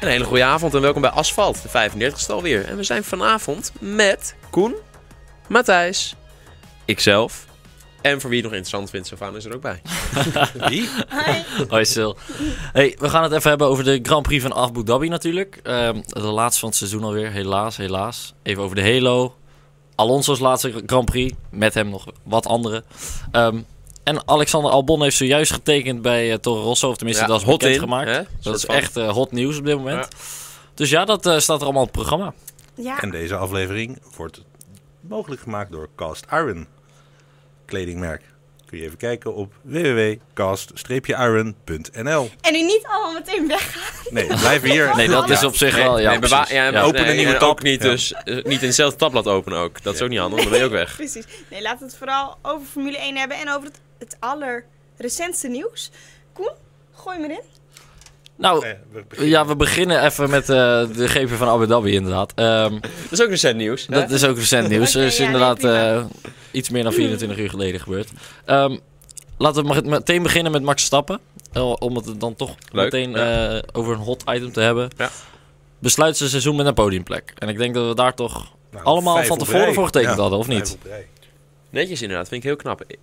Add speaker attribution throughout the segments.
Speaker 1: Een hele goede avond en welkom bij Asfalt, de 35ste alweer. En we zijn vanavond met Koen, Matthijs, ikzelf. En voor wie het nog interessant vindt, Savannah is er ook bij.
Speaker 2: Wie?
Speaker 3: Hoi Sil. Hey, we gaan het even hebben over de Grand Prix van Abu Dhabi natuurlijk. Ehm, de laatste van het seizoen alweer, helaas, helaas. Even over de Halo. Alonso's laatste Grand Prix, met hem nog wat andere. Ehm, en Alexander Albon heeft zojuist getekend bij eh, Toro Rosso, of tenminste dat is
Speaker 1: hot in,
Speaker 3: gemaakt.
Speaker 1: hè?
Speaker 3: Dat
Speaker 1: Soort
Speaker 3: is
Speaker 1: van.
Speaker 3: echt eh, hot nieuws op dit moment. Dus ja, dat eh, staat er allemaal op het programma.
Speaker 4: Ja,
Speaker 2: En deze aflevering wordt mogelijk gemaakt door Cast Iron, kledingmerk. Kun je even kijken op www.cast-iron.nl.
Speaker 4: en nu niet allemaal meteen weggaan.
Speaker 2: Nee, blijf hier.
Speaker 3: Nee, dat is op zich wel... Ja,
Speaker 1: nee, bewaar-
Speaker 3: precies.
Speaker 1: ja,
Speaker 3: Ja.
Speaker 1: nee,
Speaker 2: Open een nieuwe
Speaker 1: en
Speaker 2: tab.
Speaker 1: ook niet,
Speaker 2: Ja.
Speaker 1: dus eh, niet in hetzelfde tabblad openen ook. Dat is
Speaker 2: Ja.
Speaker 1: ook niet handig, dan ben je ook weg.
Speaker 4: Precies. Nee, laten we het vooral over Formule 1 hebben en over het, het allerrecentste nieuws. Koen, gooi me in.
Speaker 3: Nou,
Speaker 2: Eh, we beginnen.
Speaker 3: ja, we beginnen even met eh, de GP van Abu Dhabi inderdaad. Ehm,
Speaker 1: Dat is ook recent nieuws. hè?
Speaker 3: Dat is ook recent nieuws.
Speaker 4: Oké,
Speaker 3: Dat is
Speaker 4: ja, nee,
Speaker 3: inderdaad
Speaker 4: prima.
Speaker 3: eh, iets meer dan 24 uur geleden gebeurd. Ehm, laten we maar meteen beginnen met Max Stappen. om het dan toch
Speaker 1: Leuk,
Speaker 3: meteen
Speaker 1: ja.
Speaker 3: eh, over een hot item te hebben.
Speaker 1: Ja.
Speaker 3: Besluit zijn seizoen met een podiumplek. En ik denk dat we daar toch
Speaker 2: Nou,
Speaker 3: allemaal
Speaker 2: vijf
Speaker 3: van
Speaker 2: op
Speaker 3: tevoren
Speaker 2: rij.
Speaker 3: voor getekend
Speaker 2: Ja,
Speaker 3: hadden, of
Speaker 2: vijf
Speaker 3: niet?
Speaker 2: op rij.
Speaker 1: Netjes inderdaad, vind ik heel knap. Ik-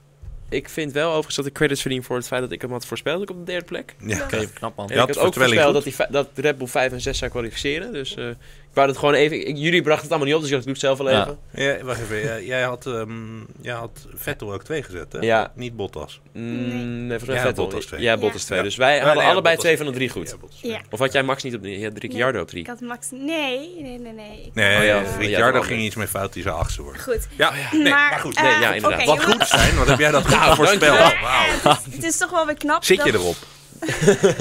Speaker 1: Ik vind wel overigens dat ik credits verdien voor het feit dat ik hem had voorspeld ook op de derde plek.
Speaker 2: Ja.
Speaker 3: Oké, knap man.
Speaker 1: En
Speaker 2: Ja,
Speaker 1: ik
Speaker 2: het
Speaker 1: had ook
Speaker 2: voorspelling
Speaker 1: voorspeld
Speaker 2: goed.
Speaker 1: dat, die, vij- dat Red Bull 5 en 6 zou kwalificeren. Dus eh, ik wou dat gewoon even... ik- jullie brachten het allemaal niet op, dus ik dacht, ik doe het zelf wel
Speaker 3: Ja.
Speaker 1: even.
Speaker 2: Ja, wacht even. Jij, jij had, ehm, jij had Vettel ook twee gezet, hè?
Speaker 1: Ja.
Speaker 2: Niet
Speaker 3: Eh,
Speaker 2: Bottas.
Speaker 1: Mm,
Speaker 4: Nee.
Speaker 1: nee, volgens mij
Speaker 2: Ja,
Speaker 1: Vettel.
Speaker 2: Bottas twee.
Speaker 1: Ja, Bottas
Speaker 4: Ja.
Speaker 1: 2. Dus wij hadden
Speaker 2: nee, ja,
Speaker 1: allebei
Speaker 2: Bottas.
Speaker 1: twee van de drie goed.
Speaker 2: Ja, Bottas.
Speaker 4: Ja.
Speaker 1: Of had jij Max niet op de... Je had Ricciardo op
Speaker 4: Ik
Speaker 1: drie.
Speaker 4: had Max. Nee, nee, nee, nee. Ik-
Speaker 2: Nee,
Speaker 1: Oh ja,
Speaker 2: eh,
Speaker 1: ja,
Speaker 2: Ricciardo
Speaker 1: ja,
Speaker 2: ging iets mee fout, die zou achtste worden.
Speaker 4: Goed.
Speaker 2: Ja, nee, maar, goed.
Speaker 4: eh,
Speaker 1: Nee, ja, inderdaad.
Speaker 4: oké,
Speaker 2: Wat
Speaker 4: jongens,
Speaker 2: goed zijn, wat heb jij
Speaker 3: Nou,
Speaker 2: dat goed voorspeld?
Speaker 1: dankjewel.
Speaker 2: Wauw.
Speaker 4: eh, het, is, het is toch wel weer knap.
Speaker 2: Zit je
Speaker 4: dat-
Speaker 2: erop?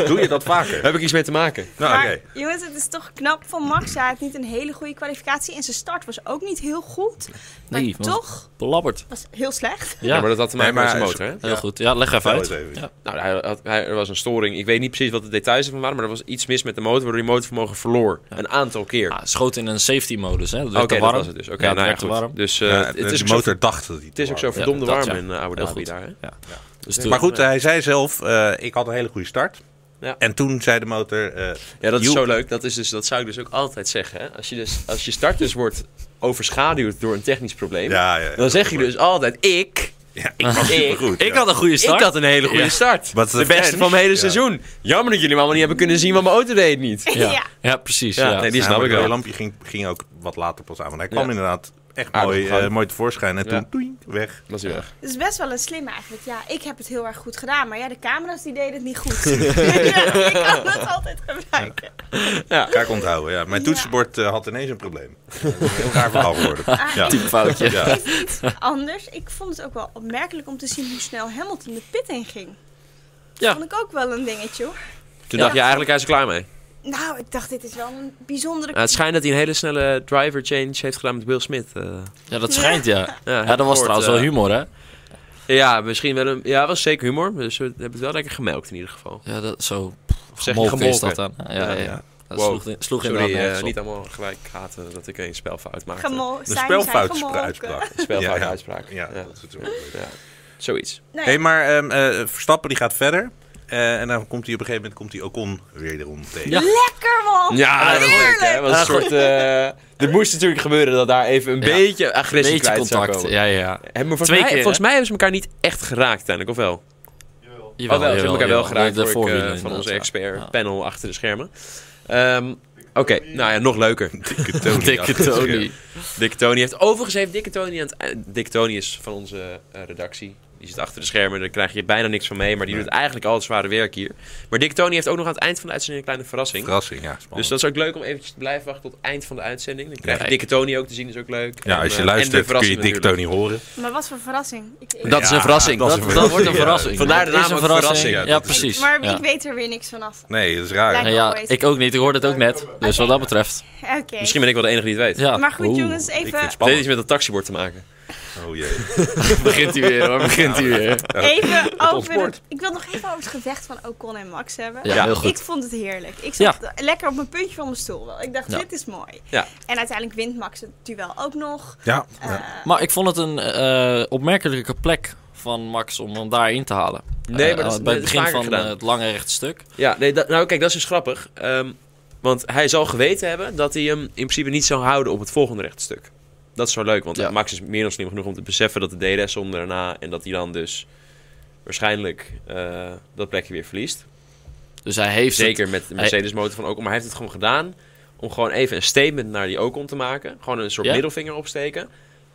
Speaker 2: Doe je dat vaker?
Speaker 1: Heb ik iets mee te maken?
Speaker 2: Nou,
Speaker 4: Maar
Speaker 2: oké.
Speaker 4: jongens, het is toch knap van Max. Hij had niet een hele goede kwalificatie en zijn start was ook niet heel goed. Maar
Speaker 3: Nee, want-
Speaker 4: toch
Speaker 3: Belabberd.
Speaker 4: was heel slecht.
Speaker 3: Ja,
Speaker 1: Ja, maar dat had te maken
Speaker 2: Nee,
Speaker 1: met
Speaker 2: maar
Speaker 1: zijn
Speaker 2: hij is-
Speaker 1: motor, hè?
Speaker 3: heel goed. Ja, leg even
Speaker 2: Vertel
Speaker 3: uit.
Speaker 2: het even.
Speaker 3: Ja.
Speaker 1: Nou, hij had, hij, er was een storing. Ik weet niet precies wat de details ervan waren, maar er was iets mis met de motor, waardoor die motorvermogen verloor. Een aantal keer.
Speaker 3: Ah, schoot in een safety modus, hè. Dat
Speaker 1: Oké,
Speaker 3: werd te
Speaker 1: dat
Speaker 3: warm.
Speaker 1: was het dus. Oké,
Speaker 3: Ja, het
Speaker 1: nou ja,
Speaker 3: werd te warm.
Speaker 1: goed. Dus eh,
Speaker 2: Ja,
Speaker 1: het, is
Speaker 2: de
Speaker 1: ook zo,
Speaker 2: motor dacht dat hij
Speaker 1: het is ook zo
Speaker 2: warm was.
Speaker 1: verdomde
Speaker 3: Ja, dat,
Speaker 1: warm
Speaker 3: ja.
Speaker 1: in eh, Abu
Speaker 3: Heel
Speaker 1: Dhabi
Speaker 3: goed.
Speaker 1: daar, hè?
Speaker 3: Dus toen-
Speaker 2: Maar goed, hij zei zelf, eh, ik had een hele goede start.
Speaker 1: Ja.
Speaker 2: En toen zei de motor... eh,
Speaker 1: Ja, dat is
Speaker 2: Joep.
Speaker 1: zo leuk. Dat, is dus, dat zou ik dus ook altijd zeggen. Hè? Als, je dus, als je start dus wordt overschaduwd door een technisch probleem,
Speaker 2: ja, ja,
Speaker 1: dan zeg je dus altijd: Ik,
Speaker 2: Ja, ik was
Speaker 1: Ik-
Speaker 2: supergoed.
Speaker 3: Ik
Speaker 2: ja.
Speaker 3: had een goede start.
Speaker 1: ik had een hele goede
Speaker 3: Ja.
Speaker 1: start.
Speaker 2: Wat
Speaker 1: de
Speaker 2: een
Speaker 1: beste
Speaker 2: fans.
Speaker 1: van mijn hele
Speaker 2: Ja.
Speaker 1: seizoen. Jammer dat jullie hem allemaal niet hebben kunnen zien, want mijn auto deed het niet.
Speaker 3: Ja,
Speaker 4: Ja.
Speaker 3: ja precies.
Speaker 1: Ja,
Speaker 3: Ja.
Speaker 1: nee, die snap ik
Speaker 2: Namelijk,
Speaker 1: wel.
Speaker 2: Het lampje ging, ging ook wat later pas aan. Want hij
Speaker 1: Ja.
Speaker 2: kwam inderdaad echt
Speaker 1: Aardig
Speaker 2: mooi,
Speaker 1: gang.
Speaker 2: eh, mooi tevoorschijn. En
Speaker 1: Ja.
Speaker 2: toen, doei, weg.
Speaker 1: Was hij weg.
Speaker 4: Dat is best wel een slim eigenlijk. Ja, ik heb het heel erg goed gedaan, maar ja, de camera's die deden het niet goed. ik kan het altijd gebruiken.
Speaker 2: Ga ik onthouden, ja. Mijn
Speaker 4: Ja.
Speaker 2: toetsenbord eh, had ineens een probleem. Heel raar verhaal geworden.
Speaker 4: Ah,
Speaker 2: Ja.
Speaker 3: Foutje.
Speaker 2: Ja.
Speaker 4: Is iets anders. Ik vond het ook wel opmerkelijk om te zien hoe snel Hamilton de pit in ging.
Speaker 3: Ja.
Speaker 4: Vond ik ook wel een dingetje hoor.
Speaker 1: Toen dacht je eigenlijk, hij is er klaar mee.
Speaker 4: Nou, ik dacht, dit is wel een bijzondere...
Speaker 1: Nou, het schijnt dat hij een hele snelle driver change heeft gedaan met Will Smith. eh.
Speaker 3: Ja, dat schijnt, ja.
Speaker 1: ja,
Speaker 3: Ja, dat was trouwens wel humor, hè?
Speaker 1: humor. Ja, misschien wel een. Ja, was zeker humor. Dus we hebben het wel lekker gemelkt in ieder geval.
Speaker 3: Ja, dat zo.
Speaker 1: Of zeg je
Speaker 3: Molk is
Speaker 1: gemolken?
Speaker 3: dat dan. Ja, ja, ja.
Speaker 2: ja.
Speaker 3: Dat
Speaker 1: Wow.
Speaker 3: sloeg, in- sloeg
Speaker 1: Sorry,
Speaker 3: inderdaad
Speaker 1: eh,
Speaker 3: nergens op.
Speaker 1: niet allemaal gelijk haten dat ik een spelfout maakte.
Speaker 4: Gemo-
Speaker 2: Een
Speaker 4: zijn-
Speaker 2: spelfout
Speaker 4: zijn gemolken.
Speaker 2: uitspraak.
Speaker 1: Spelfout
Speaker 2: Ja, ja.
Speaker 1: uitspraak.
Speaker 2: Ja,
Speaker 1: Ja.
Speaker 2: dat is het wel.
Speaker 1: Ja. Zoiets.
Speaker 4: Nou ja,
Speaker 2: Hey, maar ehm, eh, Verstappen die gaat verder. Eh, en dan komt hij op een gegeven moment komt hij Ocon weer erom tegen.
Speaker 3: Ja.
Speaker 4: Lekker man!
Speaker 1: Ja, dat was leuk,
Speaker 4: Heerlijk!
Speaker 1: hè? Was een
Speaker 3: Oh, Ah, goed.
Speaker 1: soort, eh, er moest natuurlijk gebeuren dat daar even een
Speaker 3: Ja.
Speaker 1: beetje agressie
Speaker 3: Beetje
Speaker 1: kwijt zou
Speaker 3: contact.
Speaker 1: komen.
Speaker 3: Ja, ja, ja.
Speaker 1: Hè, maar volgens,
Speaker 3: Twee
Speaker 1: mij,
Speaker 3: keer,
Speaker 1: volgens
Speaker 3: hè?
Speaker 1: mij hebben ze elkaar niet echt geraakt uiteindelijk, of wel?
Speaker 3: Jawel,
Speaker 1: oh, wel, ze hebben
Speaker 3: jawel,
Speaker 1: elkaar wel
Speaker 3: jawel.
Speaker 1: geraakt hoor ik, eh,
Speaker 3: voorwielen
Speaker 1: van
Speaker 3: inderdaad,
Speaker 1: onze
Speaker 3: ja.
Speaker 1: expert
Speaker 3: Ja.
Speaker 1: panel achter de schermen. Ehm, Oké, nou ja, nog leuker.
Speaker 2: Dikke Tony.
Speaker 3: Dikke Tony.
Speaker 1: Dick Tony heeft... Overigens heeft Dick Tony aan het eind- Dick Tony is van onze eh, redactie. Die zit achter de schermen, daar krijg je bijna niks van mee. Maar die
Speaker 2: Nee.
Speaker 1: doet eigenlijk al het zware werk hier. Maar Dick Tony heeft ook nog aan het eind van de uitzending een kleine verrassing.
Speaker 2: Verrassing, ja. Spannend.
Speaker 1: Dus dat is ook leuk om eventjes te blijven wachten tot het eind van de uitzending. Dan krijg je
Speaker 3: Ja.
Speaker 1: Dikke Tony ook te zien, is ook leuk.
Speaker 2: ja,
Speaker 1: En,
Speaker 2: als
Speaker 1: eh,
Speaker 2: je
Speaker 1: en de
Speaker 2: luistert kun je
Speaker 1: verrassing
Speaker 2: Dick
Speaker 1: natuurlijk.
Speaker 2: Tony horen.
Speaker 4: Maar wat voor verrassing. Ik, ik-
Speaker 1: Dat is
Speaker 2: Ja,
Speaker 1: een verrassing.
Speaker 2: dat is
Speaker 3: Dat, dat wordt een
Speaker 2: Ja.
Speaker 3: verrassing.
Speaker 1: Vandaar de
Speaker 3: Dat is
Speaker 1: naam
Speaker 3: een
Speaker 1: ook verrassing.
Speaker 3: Ja,
Speaker 2: Ja, dat is-
Speaker 3: precies.
Speaker 4: Maar
Speaker 3: ja.
Speaker 4: ik weet er weer niks vanaf.
Speaker 2: Nee, dat is raar.
Speaker 4: Lijkt
Speaker 3: Ja,
Speaker 4: me
Speaker 3: ja,
Speaker 4: always.
Speaker 3: ik ook niet. Ik hoorde het ook net. Dus wat dat betreft.
Speaker 4: Oké.
Speaker 1: Misschien ben ik wel de enige die het weet.
Speaker 3: Ja.
Speaker 4: Maar goed
Speaker 3: Ah, Oeh.
Speaker 4: jongens,
Speaker 2: Ik vind
Speaker 4: even,
Speaker 2: het
Speaker 1: Het heeft iets
Speaker 2: spannend.
Speaker 1: met dat taxibord te maken.
Speaker 2: Oh jee.
Speaker 3: Begint hij weer hoor. Begint hij weer.
Speaker 4: even over...
Speaker 2: ontspoort.
Speaker 4: Het, ik wil nog even over het gevecht van Ocon en Max hebben.
Speaker 3: Ja, heel
Speaker 4: Ik
Speaker 3: goed.
Speaker 4: vond het heerlijk. Ik zat lekker op mijn puntje van mijn stoel wel. Ik dacht,
Speaker 3: Ja.
Speaker 4: dit is mooi.
Speaker 1: Ja.
Speaker 4: En uiteindelijk wint Max het duel ook nog.
Speaker 2: Ja.
Speaker 4: Eh,
Speaker 3: Maar ik vond het een eh, opmerkelijke plek van Max om hem daarin te halen.
Speaker 1: Nee, maar
Speaker 3: Eh,
Speaker 1: dat is-
Speaker 3: bij
Speaker 1: dat is
Speaker 3: het begin
Speaker 1: vaker
Speaker 3: van
Speaker 1: gedaan.
Speaker 3: eh, het lange rechte stuk.
Speaker 1: Ja, nee, dat, nou kijk, dat is dus grappig. Ehm, Want hij zal geweten hebben dat hij hem in principe niet zou houden op het volgende rechtstuk. Dat is zo leuk, want
Speaker 3: Ja.
Speaker 1: Max is meer dan slim genoeg om te beseffen dat de DRS om daarna... en dat hij dan dus waarschijnlijk eh, dat plekje weer verliest.
Speaker 3: Dus hij heeft het-
Speaker 1: Zeker met de Mercedes-motor van Ocon. Maar hij heeft het gewoon gedaan om gewoon even een statement naar die Ocon te maken. Gewoon een soort
Speaker 3: Ja.
Speaker 1: middelvinger opsteken.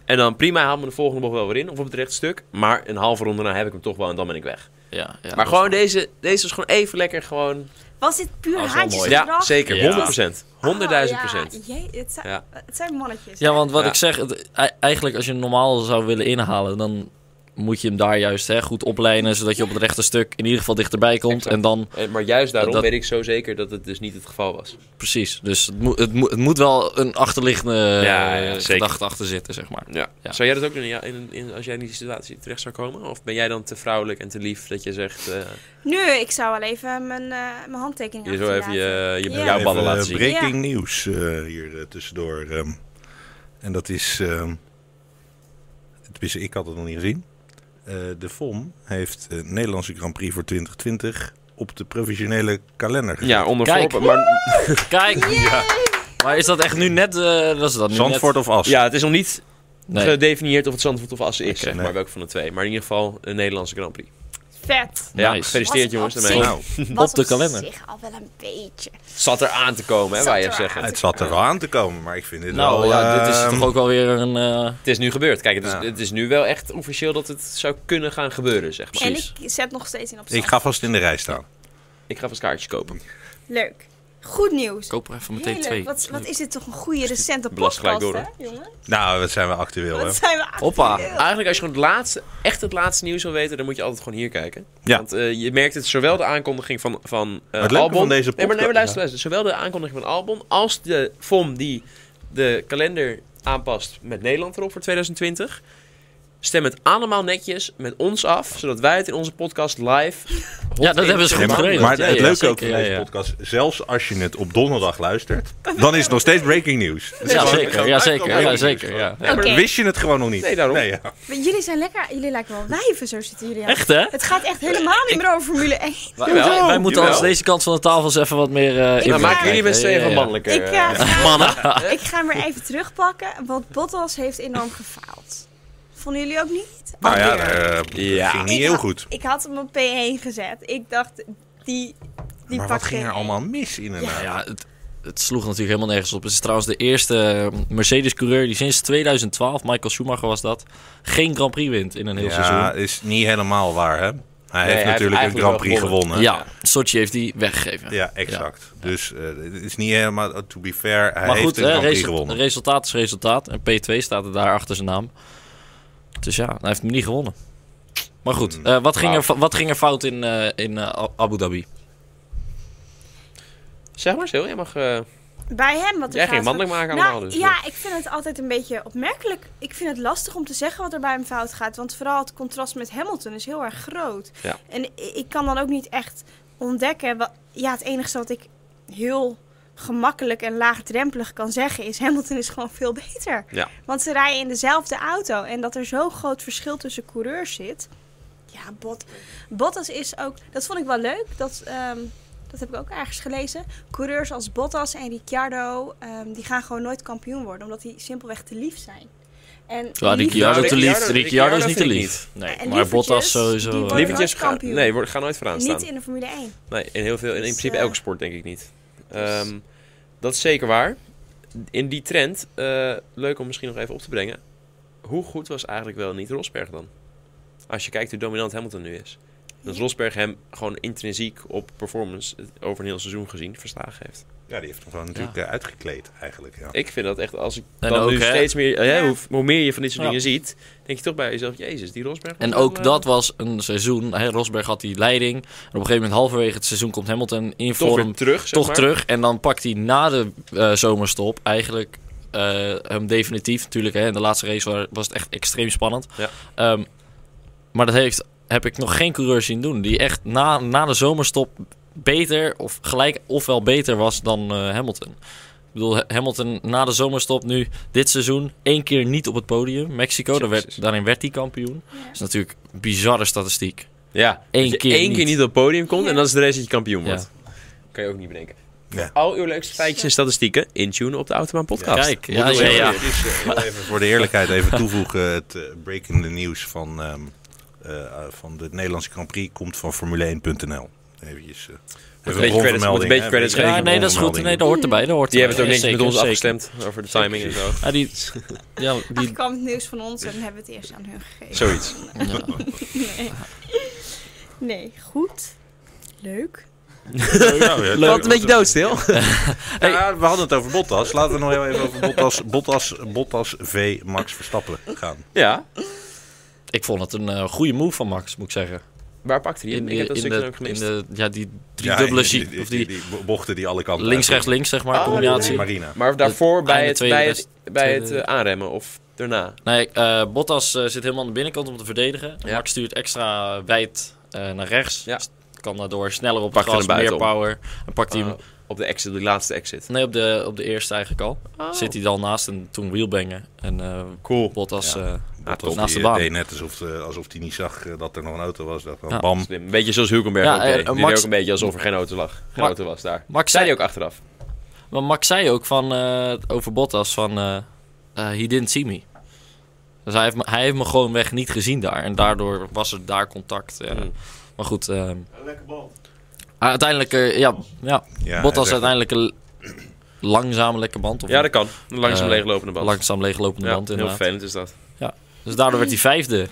Speaker 1: En dan prima, haal me de volgende bocht wel weer in of op het rechtstuk. Maar een halve ronde na heb ik hem toch wel en dan ben ik weg.
Speaker 3: ja, ja,
Speaker 1: maar
Speaker 3: dat
Speaker 1: gewoon
Speaker 3: is-
Speaker 1: deze, deze is gewoon even lekker gewoon...
Speaker 4: Was dit puur
Speaker 3: Dat is wel mooi.
Speaker 4: haantjesgedrag?
Speaker 1: Ja, zeker.
Speaker 3: Oh, Ja.
Speaker 1: 100%. 100.000%.
Speaker 4: Ah, ja. Jee, het, zijn,
Speaker 1: Ja.
Speaker 4: het zijn mannetjes.
Speaker 3: Ja, want wat
Speaker 1: Ja.
Speaker 3: ik zeg, het- ei- eigenlijk als je hem normaal zou willen inhalen, dan moet je hem daar juist hè, goed opleiden, zodat je op het rechte stuk in ieder geval dichterbij komt.
Speaker 1: Exact.
Speaker 3: En dan,
Speaker 1: Eh, Maar juist daarom
Speaker 3: Dat-
Speaker 1: weet ik zo zeker dat het dus niet het geval was.
Speaker 3: precies, dus het, moet het, moet het moet wel een achterliggende
Speaker 1: Ja, ja,
Speaker 3: eh,
Speaker 1: zeker.
Speaker 3: gedachte achter zitten, zeg maar.
Speaker 1: Ja.
Speaker 3: Ja.
Speaker 1: Zou jij dat ook doen in, in, in- als jij in die situatie terecht zou komen? Of ben jij dan te vrouwelijk en te lief dat je zegt... eh,
Speaker 4: Nee, ik zou wel even mijn, eh, mijn handtekening
Speaker 1: je zo even
Speaker 4: achterlaten.
Speaker 1: je, je
Speaker 4: Ja.
Speaker 1: jouw ballen
Speaker 2: Even,
Speaker 1: laten zien?
Speaker 2: eh, Breaking nieuws eh, hier eh, tussendoor. ehm. en dat is. ehm, tenminste, ik had het nog niet gezien. Eh, de FOM heeft eh, Nederlandse Grand Prix voor 2020 op de provisionele kalender gezet.
Speaker 1: Ja, onder
Speaker 3: Kijk.
Speaker 1: voorbe- maar,
Speaker 3: Kijk! Maar is dat echt nu net... eh dat is dat nu
Speaker 2: Zandvoort of As?
Speaker 1: ja, het is nog niet
Speaker 3: net- Nee.
Speaker 1: gedefinieerd of het Zandvoort of Assen is, zeg maar
Speaker 2: nee.
Speaker 1: welke van de twee. Maar in ieder geval een Nederlandse Grand Prix.
Speaker 4: Vet.
Speaker 1: Ja,
Speaker 3: Nice.
Speaker 1: gefeliciteerd
Speaker 4: Was
Speaker 1: jongens.
Speaker 4: op
Speaker 1: daarmee.
Speaker 4: zich.
Speaker 2: Nou,
Speaker 4: Was
Speaker 3: Op de kalender.
Speaker 4: zich al wel een beetje.
Speaker 1: Zat er aan te komen, hè,
Speaker 4: Zat
Speaker 1: wij je
Speaker 4: er
Speaker 1: zeggen.
Speaker 4: aan.
Speaker 1: Het,
Speaker 2: het zat er wel aan te komen, maar ik vind dit
Speaker 3: eh, Nou
Speaker 2: wel...
Speaker 3: ja, dit is
Speaker 2: ehm,
Speaker 3: toch ook wel weer een... eh,
Speaker 1: is nu gebeurd. Kijk, het is,
Speaker 2: Ja.
Speaker 1: het is nu wel echt officieel dat het zou kunnen gaan gebeuren, zeg maar.
Speaker 4: En
Speaker 3: Precies.
Speaker 4: ik zet nog steeds in op
Speaker 2: Ik
Speaker 4: zand.
Speaker 2: ga vast in de rij staan.
Speaker 1: Ik ga vast kaartjes kopen.
Speaker 4: Leuk. Goed nieuws.
Speaker 3: koop er even meteen
Speaker 4: Heerlijk.
Speaker 3: twee.
Speaker 4: Wat, wat is dit toch een goede recente
Speaker 1: Belast
Speaker 4: podcast,
Speaker 1: gelijk
Speaker 4: hè,
Speaker 1: door,
Speaker 4: jongen?
Speaker 2: Nou, wat zijn we actueel, hè?
Speaker 4: Wat zijn we aan
Speaker 3: Hoppa.
Speaker 1: Eigenlijk, als je gewoon het laatste, echt het laatste nieuws wil weten, dan moet je altijd gewoon hier kijken.
Speaker 2: Ja.
Speaker 1: Want eh, je merkt het zowel de aankondiging van, van eh,
Speaker 2: Het leuke
Speaker 1: Albon.
Speaker 2: van deze
Speaker 1: nee, maar, nee, maar
Speaker 2: podcast-
Speaker 1: luister, luister. Zowel de aankondiging van Albon als de FOM die de kalender aanpast met Nederland erop voor 2020. Stem het allemaal netjes met ons af, zodat wij het in onze podcast live.
Speaker 3: Ja, dat hebben ze
Speaker 2: Nee,
Speaker 3: goed
Speaker 2: maar,
Speaker 3: geregeld.
Speaker 2: maar
Speaker 3: Ja,
Speaker 2: het
Speaker 3: ja,
Speaker 2: leuke
Speaker 3: zeker.
Speaker 2: ook van
Speaker 3: Ja,
Speaker 2: deze
Speaker 3: ja.
Speaker 2: podcast, zelfs als je het op donderdag luistert, dan is het nog steeds breaking news. Het is
Speaker 3: Ja,
Speaker 2: gewoon-
Speaker 3: zeker. Ja, zeker. Ja,
Speaker 2: Breaking
Speaker 3: zeker.
Speaker 2: news.
Speaker 3: Ja.
Speaker 2: Ja, maar
Speaker 4: Oké.
Speaker 2: Wist je het gewoon nog niet?
Speaker 1: Nee, daarom.
Speaker 2: ja.
Speaker 4: Jullie zijn lekker, jullie lijken wel wijven, zo zitten jullie aan.
Speaker 3: Echt, hè?
Speaker 4: Het gaat echt helemaal niet meer over Formule 1.
Speaker 3: Wij, wij- wij moeten
Speaker 1: Jawel.
Speaker 3: als deze kant van de tafel eens even wat meer... eh
Speaker 1: Nou,
Speaker 3: inbreng
Speaker 1: maken jullie
Speaker 3: krijgen.
Speaker 1: met z'n
Speaker 3: Ja,
Speaker 1: tweeën
Speaker 3: ja,
Speaker 1: van
Speaker 3: ja.
Speaker 1: mannelijk.
Speaker 4: Ik,
Speaker 1: eh,
Speaker 4: eh, ga,
Speaker 3: Mannen.
Speaker 4: ik ga hem weer even terugpakken, want Bottas heeft enorm gefaald. Vonden jullie ook niet?
Speaker 2: Nou ja,
Speaker 4: Alweer.
Speaker 2: eh, dat
Speaker 1: Ja.
Speaker 2: ging niet
Speaker 4: Ik
Speaker 2: heel
Speaker 4: had-
Speaker 2: goed.
Speaker 4: Ik had hem op P1 gezet. Ik dacht, die, die
Speaker 2: Maar
Speaker 4: pakt
Speaker 2: wat ging
Speaker 4: geen
Speaker 2: er
Speaker 4: één.
Speaker 2: allemaal mis eh, inderdaad?
Speaker 3: Nou ja, het, het sloeg natuurlijk helemaal nergens op. Het is trouwens de eerste eh, Mercedes-coureur die sinds 2012, Michael Schumacher was dat, geen Grand Prix wint in een heel
Speaker 2: Ja,
Speaker 3: seizoen.
Speaker 2: is niet helemaal waar, hè? Hij
Speaker 1: hij
Speaker 2: heeft
Speaker 1: heeft
Speaker 2: natuurlijk een
Speaker 1: eigenlijk
Speaker 2: Grand
Speaker 1: wel
Speaker 2: Prix
Speaker 1: gewonnen.
Speaker 2: gewonnen.
Speaker 3: Ja, Sochi heeft die weggegeven.
Speaker 2: Ja, exact. Dus eh, het is niet helemaal, to be fair, hij
Speaker 3: Maar
Speaker 2: heeft
Speaker 3: goed,
Speaker 2: een
Speaker 3: hè,
Speaker 2: Grand Prix
Speaker 3: resu-
Speaker 2: gewonnen.
Speaker 3: resultaat is resultaat. En P2 staat er daar achter zijn naam. Dus ja, hij heeft hem niet gewonnen. Maar goed,
Speaker 2: Hmm.
Speaker 3: eh, wat, ging
Speaker 1: Wauw.
Speaker 2: Nou.
Speaker 3: er, fa- wat ging er fout in, eh, in eh, Abu Dhabi?
Speaker 1: Zeg maar, Sil, jij mag. eh,
Speaker 4: Bij hem wat er
Speaker 1: jij ging
Speaker 4: fout
Speaker 1: mannelijk
Speaker 4: gaat.
Speaker 1: maken
Speaker 4: Nou,
Speaker 1: allemaal. Dus,
Speaker 4: Ja, ik vind het altijd een beetje opmerkelijk. Ik vind het lastig om te zeggen wat er bij hem fout gaat. Want vooral het contrast met Hamilton is heel erg groot.
Speaker 1: Ja.
Speaker 4: En i- ik kan dan ook niet echt ontdekken. wa- ja, het enige wat ik heel gemakkelijk en laagdrempelig kan zeggen is... Hamilton is gewoon veel beter.
Speaker 1: Ja.
Speaker 4: Want ze rijden in dezelfde auto. En dat er zo'n groot verschil tussen coureurs zit... Ja, Bot, Bottas is ook... Dat vond ik wel leuk. Dat, ehm, dat heb ik ook ergens gelezen. Coureurs als Bottas en Ricciardo... ehm, die gaan gewoon nooit kampioen worden. omdat die simpelweg te lief zijn. En
Speaker 3: Ja,
Speaker 4: lief-
Speaker 3: Ricciardo te lief.
Speaker 1: Ricciardo-
Speaker 3: Ricciardo is niet te
Speaker 1: vind ik
Speaker 3: lief. Nee,
Speaker 4: En
Speaker 3: maar Bottas
Speaker 4: lievertjes,
Speaker 3: sowieso.
Speaker 4: die
Speaker 3: eh,
Speaker 4: worden-
Speaker 1: Lievertjes
Speaker 4: nooit
Speaker 1: gaan.
Speaker 4: kampioen.
Speaker 1: Nee, we gaan nooit vooraan staan.
Speaker 4: Niet in de Formule 1.
Speaker 1: Nee, in heel veel, in, in
Speaker 4: Dus,
Speaker 1: principe
Speaker 4: eh, dus-
Speaker 1: elke sport denk ik niet. Ehm, dat is zeker waar. In die trend, eh, leuk om misschien nog even op te brengen. Hoe goed was eigenlijk wel niet Rosberg dan? Als je kijkt hoe dominant Hamilton nu is. Dat
Speaker 4: Ja.
Speaker 1: Rosberg hem gewoon intrinsiek op performance eh, over een heel seizoen gezien verslagen heeft.
Speaker 2: Ja, die heeft hem gewoon natuurlijk eh, uitgekleed eigenlijk. Ja.
Speaker 1: Ik vind dat echt, als ik
Speaker 3: En
Speaker 1: dan
Speaker 3: ook,
Speaker 1: nu
Speaker 3: hè?
Speaker 1: steeds meer, eh,
Speaker 4: Ja.
Speaker 1: hoe, hoe meer je van dit soort
Speaker 3: Ja.
Speaker 1: dingen ziet, denk je toch bij jezelf, jezus, die Rosberg. was
Speaker 3: En
Speaker 1: wel,
Speaker 3: ook
Speaker 1: eh,
Speaker 3: dat was een seizoen. Hè, Rosberg had die leiding. En op een gegeven moment, halverwege het seizoen, komt Hamilton in
Speaker 1: toch weer
Speaker 3: vorm
Speaker 1: terug, zeg
Speaker 3: toch
Speaker 1: maar.
Speaker 3: terug. En dan pakt hij na de eh, zomerstop eigenlijk eh, hem definitief. Natuurlijk, hè, in de laatste race wa- was het echt extreem spannend.
Speaker 1: Ja.
Speaker 3: Ehm, maar dat heeft, heb ik nog geen coureur zien doen. Die echt na, na de zomerstop beter of gelijk ofwel beter was dan eh, Hamilton. Ik bedoel, Hamilton na de zomerstop nu dit seizoen één keer niet op het podium. Mexico, daar
Speaker 1: Jezus.
Speaker 3: werd, daarin werd hij kampioen. Dat is natuurlijk een bizarre statistiek.
Speaker 1: Ja,
Speaker 3: Eén
Speaker 1: dat je
Speaker 3: keer
Speaker 1: één keer
Speaker 3: niet.
Speaker 1: niet op het podium komt
Speaker 4: Ja.
Speaker 1: en dat is de race dat je kampioen
Speaker 3: Ja.
Speaker 1: wordt. Kan je ook niet bedenken.
Speaker 2: Ja.
Speaker 1: Al uw leukste feitjes en statistieken intunen op de Autobaan podcast.
Speaker 3: Kijk,
Speaker 2: Moet
Speaker 3: ja,
Speaker 2: nog
Speaker 3: ja,
Speaker 2: even-
Speaker 3: ja.
Speaker 2: het is, eh, heel even voor de eerlijkheid even toevoegen. Het eh, breaking the news van, ehm, eh, van de Nederlandse Grand Prix komt van Formule1.nl. Eventjes, eh, even
Speaker 1: beetje
Speaker 2: een
Speaker 1: credits- moet een beetje credits
Speaker 3: Ja,
Speaker 1: geven.
Speaker 3: nee, dat is goed. Nee, dat hoort erbij. Dat hoort
Speaker 1: Die hebben het ook
Speaker 3: erbij.
Speaker 1: niks met ons
Speaker 3: Zeker, zeker.
Speaker 1: afgestemd over de timing en zo.
Speaker 3: Ah, die, ja, die,
Speaker 4: Eigenlijk kwam het nieuws van ons en hebben we het eerst aan hun gegeven.
Speaker 1: Zoiets.
Speaker 3: ja.
Speaker 4: Nee. nee, goed. Leuk.
Speaker 1: Wat een beetje doodstil.
Speaker 3: Hey.
Speaker 2: Ja, we hadden het over Bottas. Laten we nog heel even over Bottas, Bottas, Bottas v Max Verstappen gaan.
Speaker 1: Ja.
Speaker 3: Ik vond het een eh, goede move van Max, moet ik zeggen.
Speaker 1: Waar pakte hij hem? Ik heb dat stukje ook
Speaker 3: in
Speaker 1: gemist.
Speaker 3: de, ja, die
Speaker 2: Ja,
Speaker 3: driedubbele
Speaker 2: en die-
Speaker 3: sheet.
Speaker 2: die-
Speaker 3: Of die
Speaker 2: die bochten die alle kanten uit-
Speaker 3: links-rechts-links, zeg maar,
Speaker 1: Ah,
Speaker 3: combinatie.
Speaker 2: Marina.
Speaker 1: Maar daarvoor bij
Speaker 3: einde
Speaker 1: het,
Speaker 3: tweede
Speaker 1: bij
Speaker 3: rest-
Speaker 1: het, bij het
Speaker 3: tweede-
Speaker 1: eh, aanremmen of daarna?
Speaker 3: Nee, eh, Bottas eh, zit helemaal aan de binnenkant om te verdedigen.
Speaker 1: Ja.
Speaker 3: Max stuurt extra wijd eh, naar rechts.
Speaker 1: Ja.
Speaker 3: Dus Kan daardoor sneller op
Speaker 1: Pakt
Speaker 3: het
Speaker 1: hij
Speaker 3: gras,
Speaker 1: hem
Speaker 3: meer
Speaker 1: buiten
Speaker 3: power. En pakt hij hem...
Speaker 1: Ah, op de exit, de laatste exit.
Speaker 3: Nee, op de, op de eerste eigenlijk al.
Speaker 1: Oh.
Speaker 3: Zit hij dan naast en toen wheelbangen. En eh
Speaker 1: Cool.
Speaker 3: Bottas...
Speaker 2: Ja.
Speaker 3: eh,
Speaker 2: Bottas
Speaker 3: naast
Speaker 2: die,
Speaker 3: de
Speaker 2: eh,
Speaker 3: baan.
Speaker 2: deed net alsof, eh, alsof hij niet zag eh, dat er nog een auto was. Dacht van
Speaker 3: Ja.
Speaker 2: bam.
Speaker 1: Slim. Een beetje zoals Hulkenberg
Speaker 3: Ja,
Speaker 1: ook
Speaker 3: eh,
Speaker 1: deed. Die
Speaker 3: Max-
Speaker 1: deed ook een beetje alsof er geen auto lag. Geen
Speaker 3: Ma-
Speaker 1: auto was daar.
Speaker 3: Max
Speaker 1: Zei
Speaker 3: zei,
Speaker 1: hij ook achteraf.
Speaker 3: maar Max zei ook van, eh, over Bottas van... eh eh, he didn't see me. Dus hij heeft, me- hij heeft me gewoon weg niet gezien daar. En daardoor was er daar contact. ja.
Speaker 1: Mm.
Speaker 3: Maar goed... ehm, ah, uiteindelijk... eh, ja, ja,
Speaker 2: Ja,
Speaker 3: Bottas
Speaker 2: hij zegt-
Speaker 3: uiteindelijk een langzame lekke band. Of
Speaker 1: Ja, dat kan. Een Langzaam
Speaker 3: Eh,
Speaker 1: leeglopende band.
Speaker 3: Langzaam leeglopende
Speaker 1: ja,
Speaker 3: band
Speaker 1: heel
Speaker 3: inderdaad.
Speaker 1: vervelend is dat.
Speaker 3: Dus daardoor werd hij vijfde.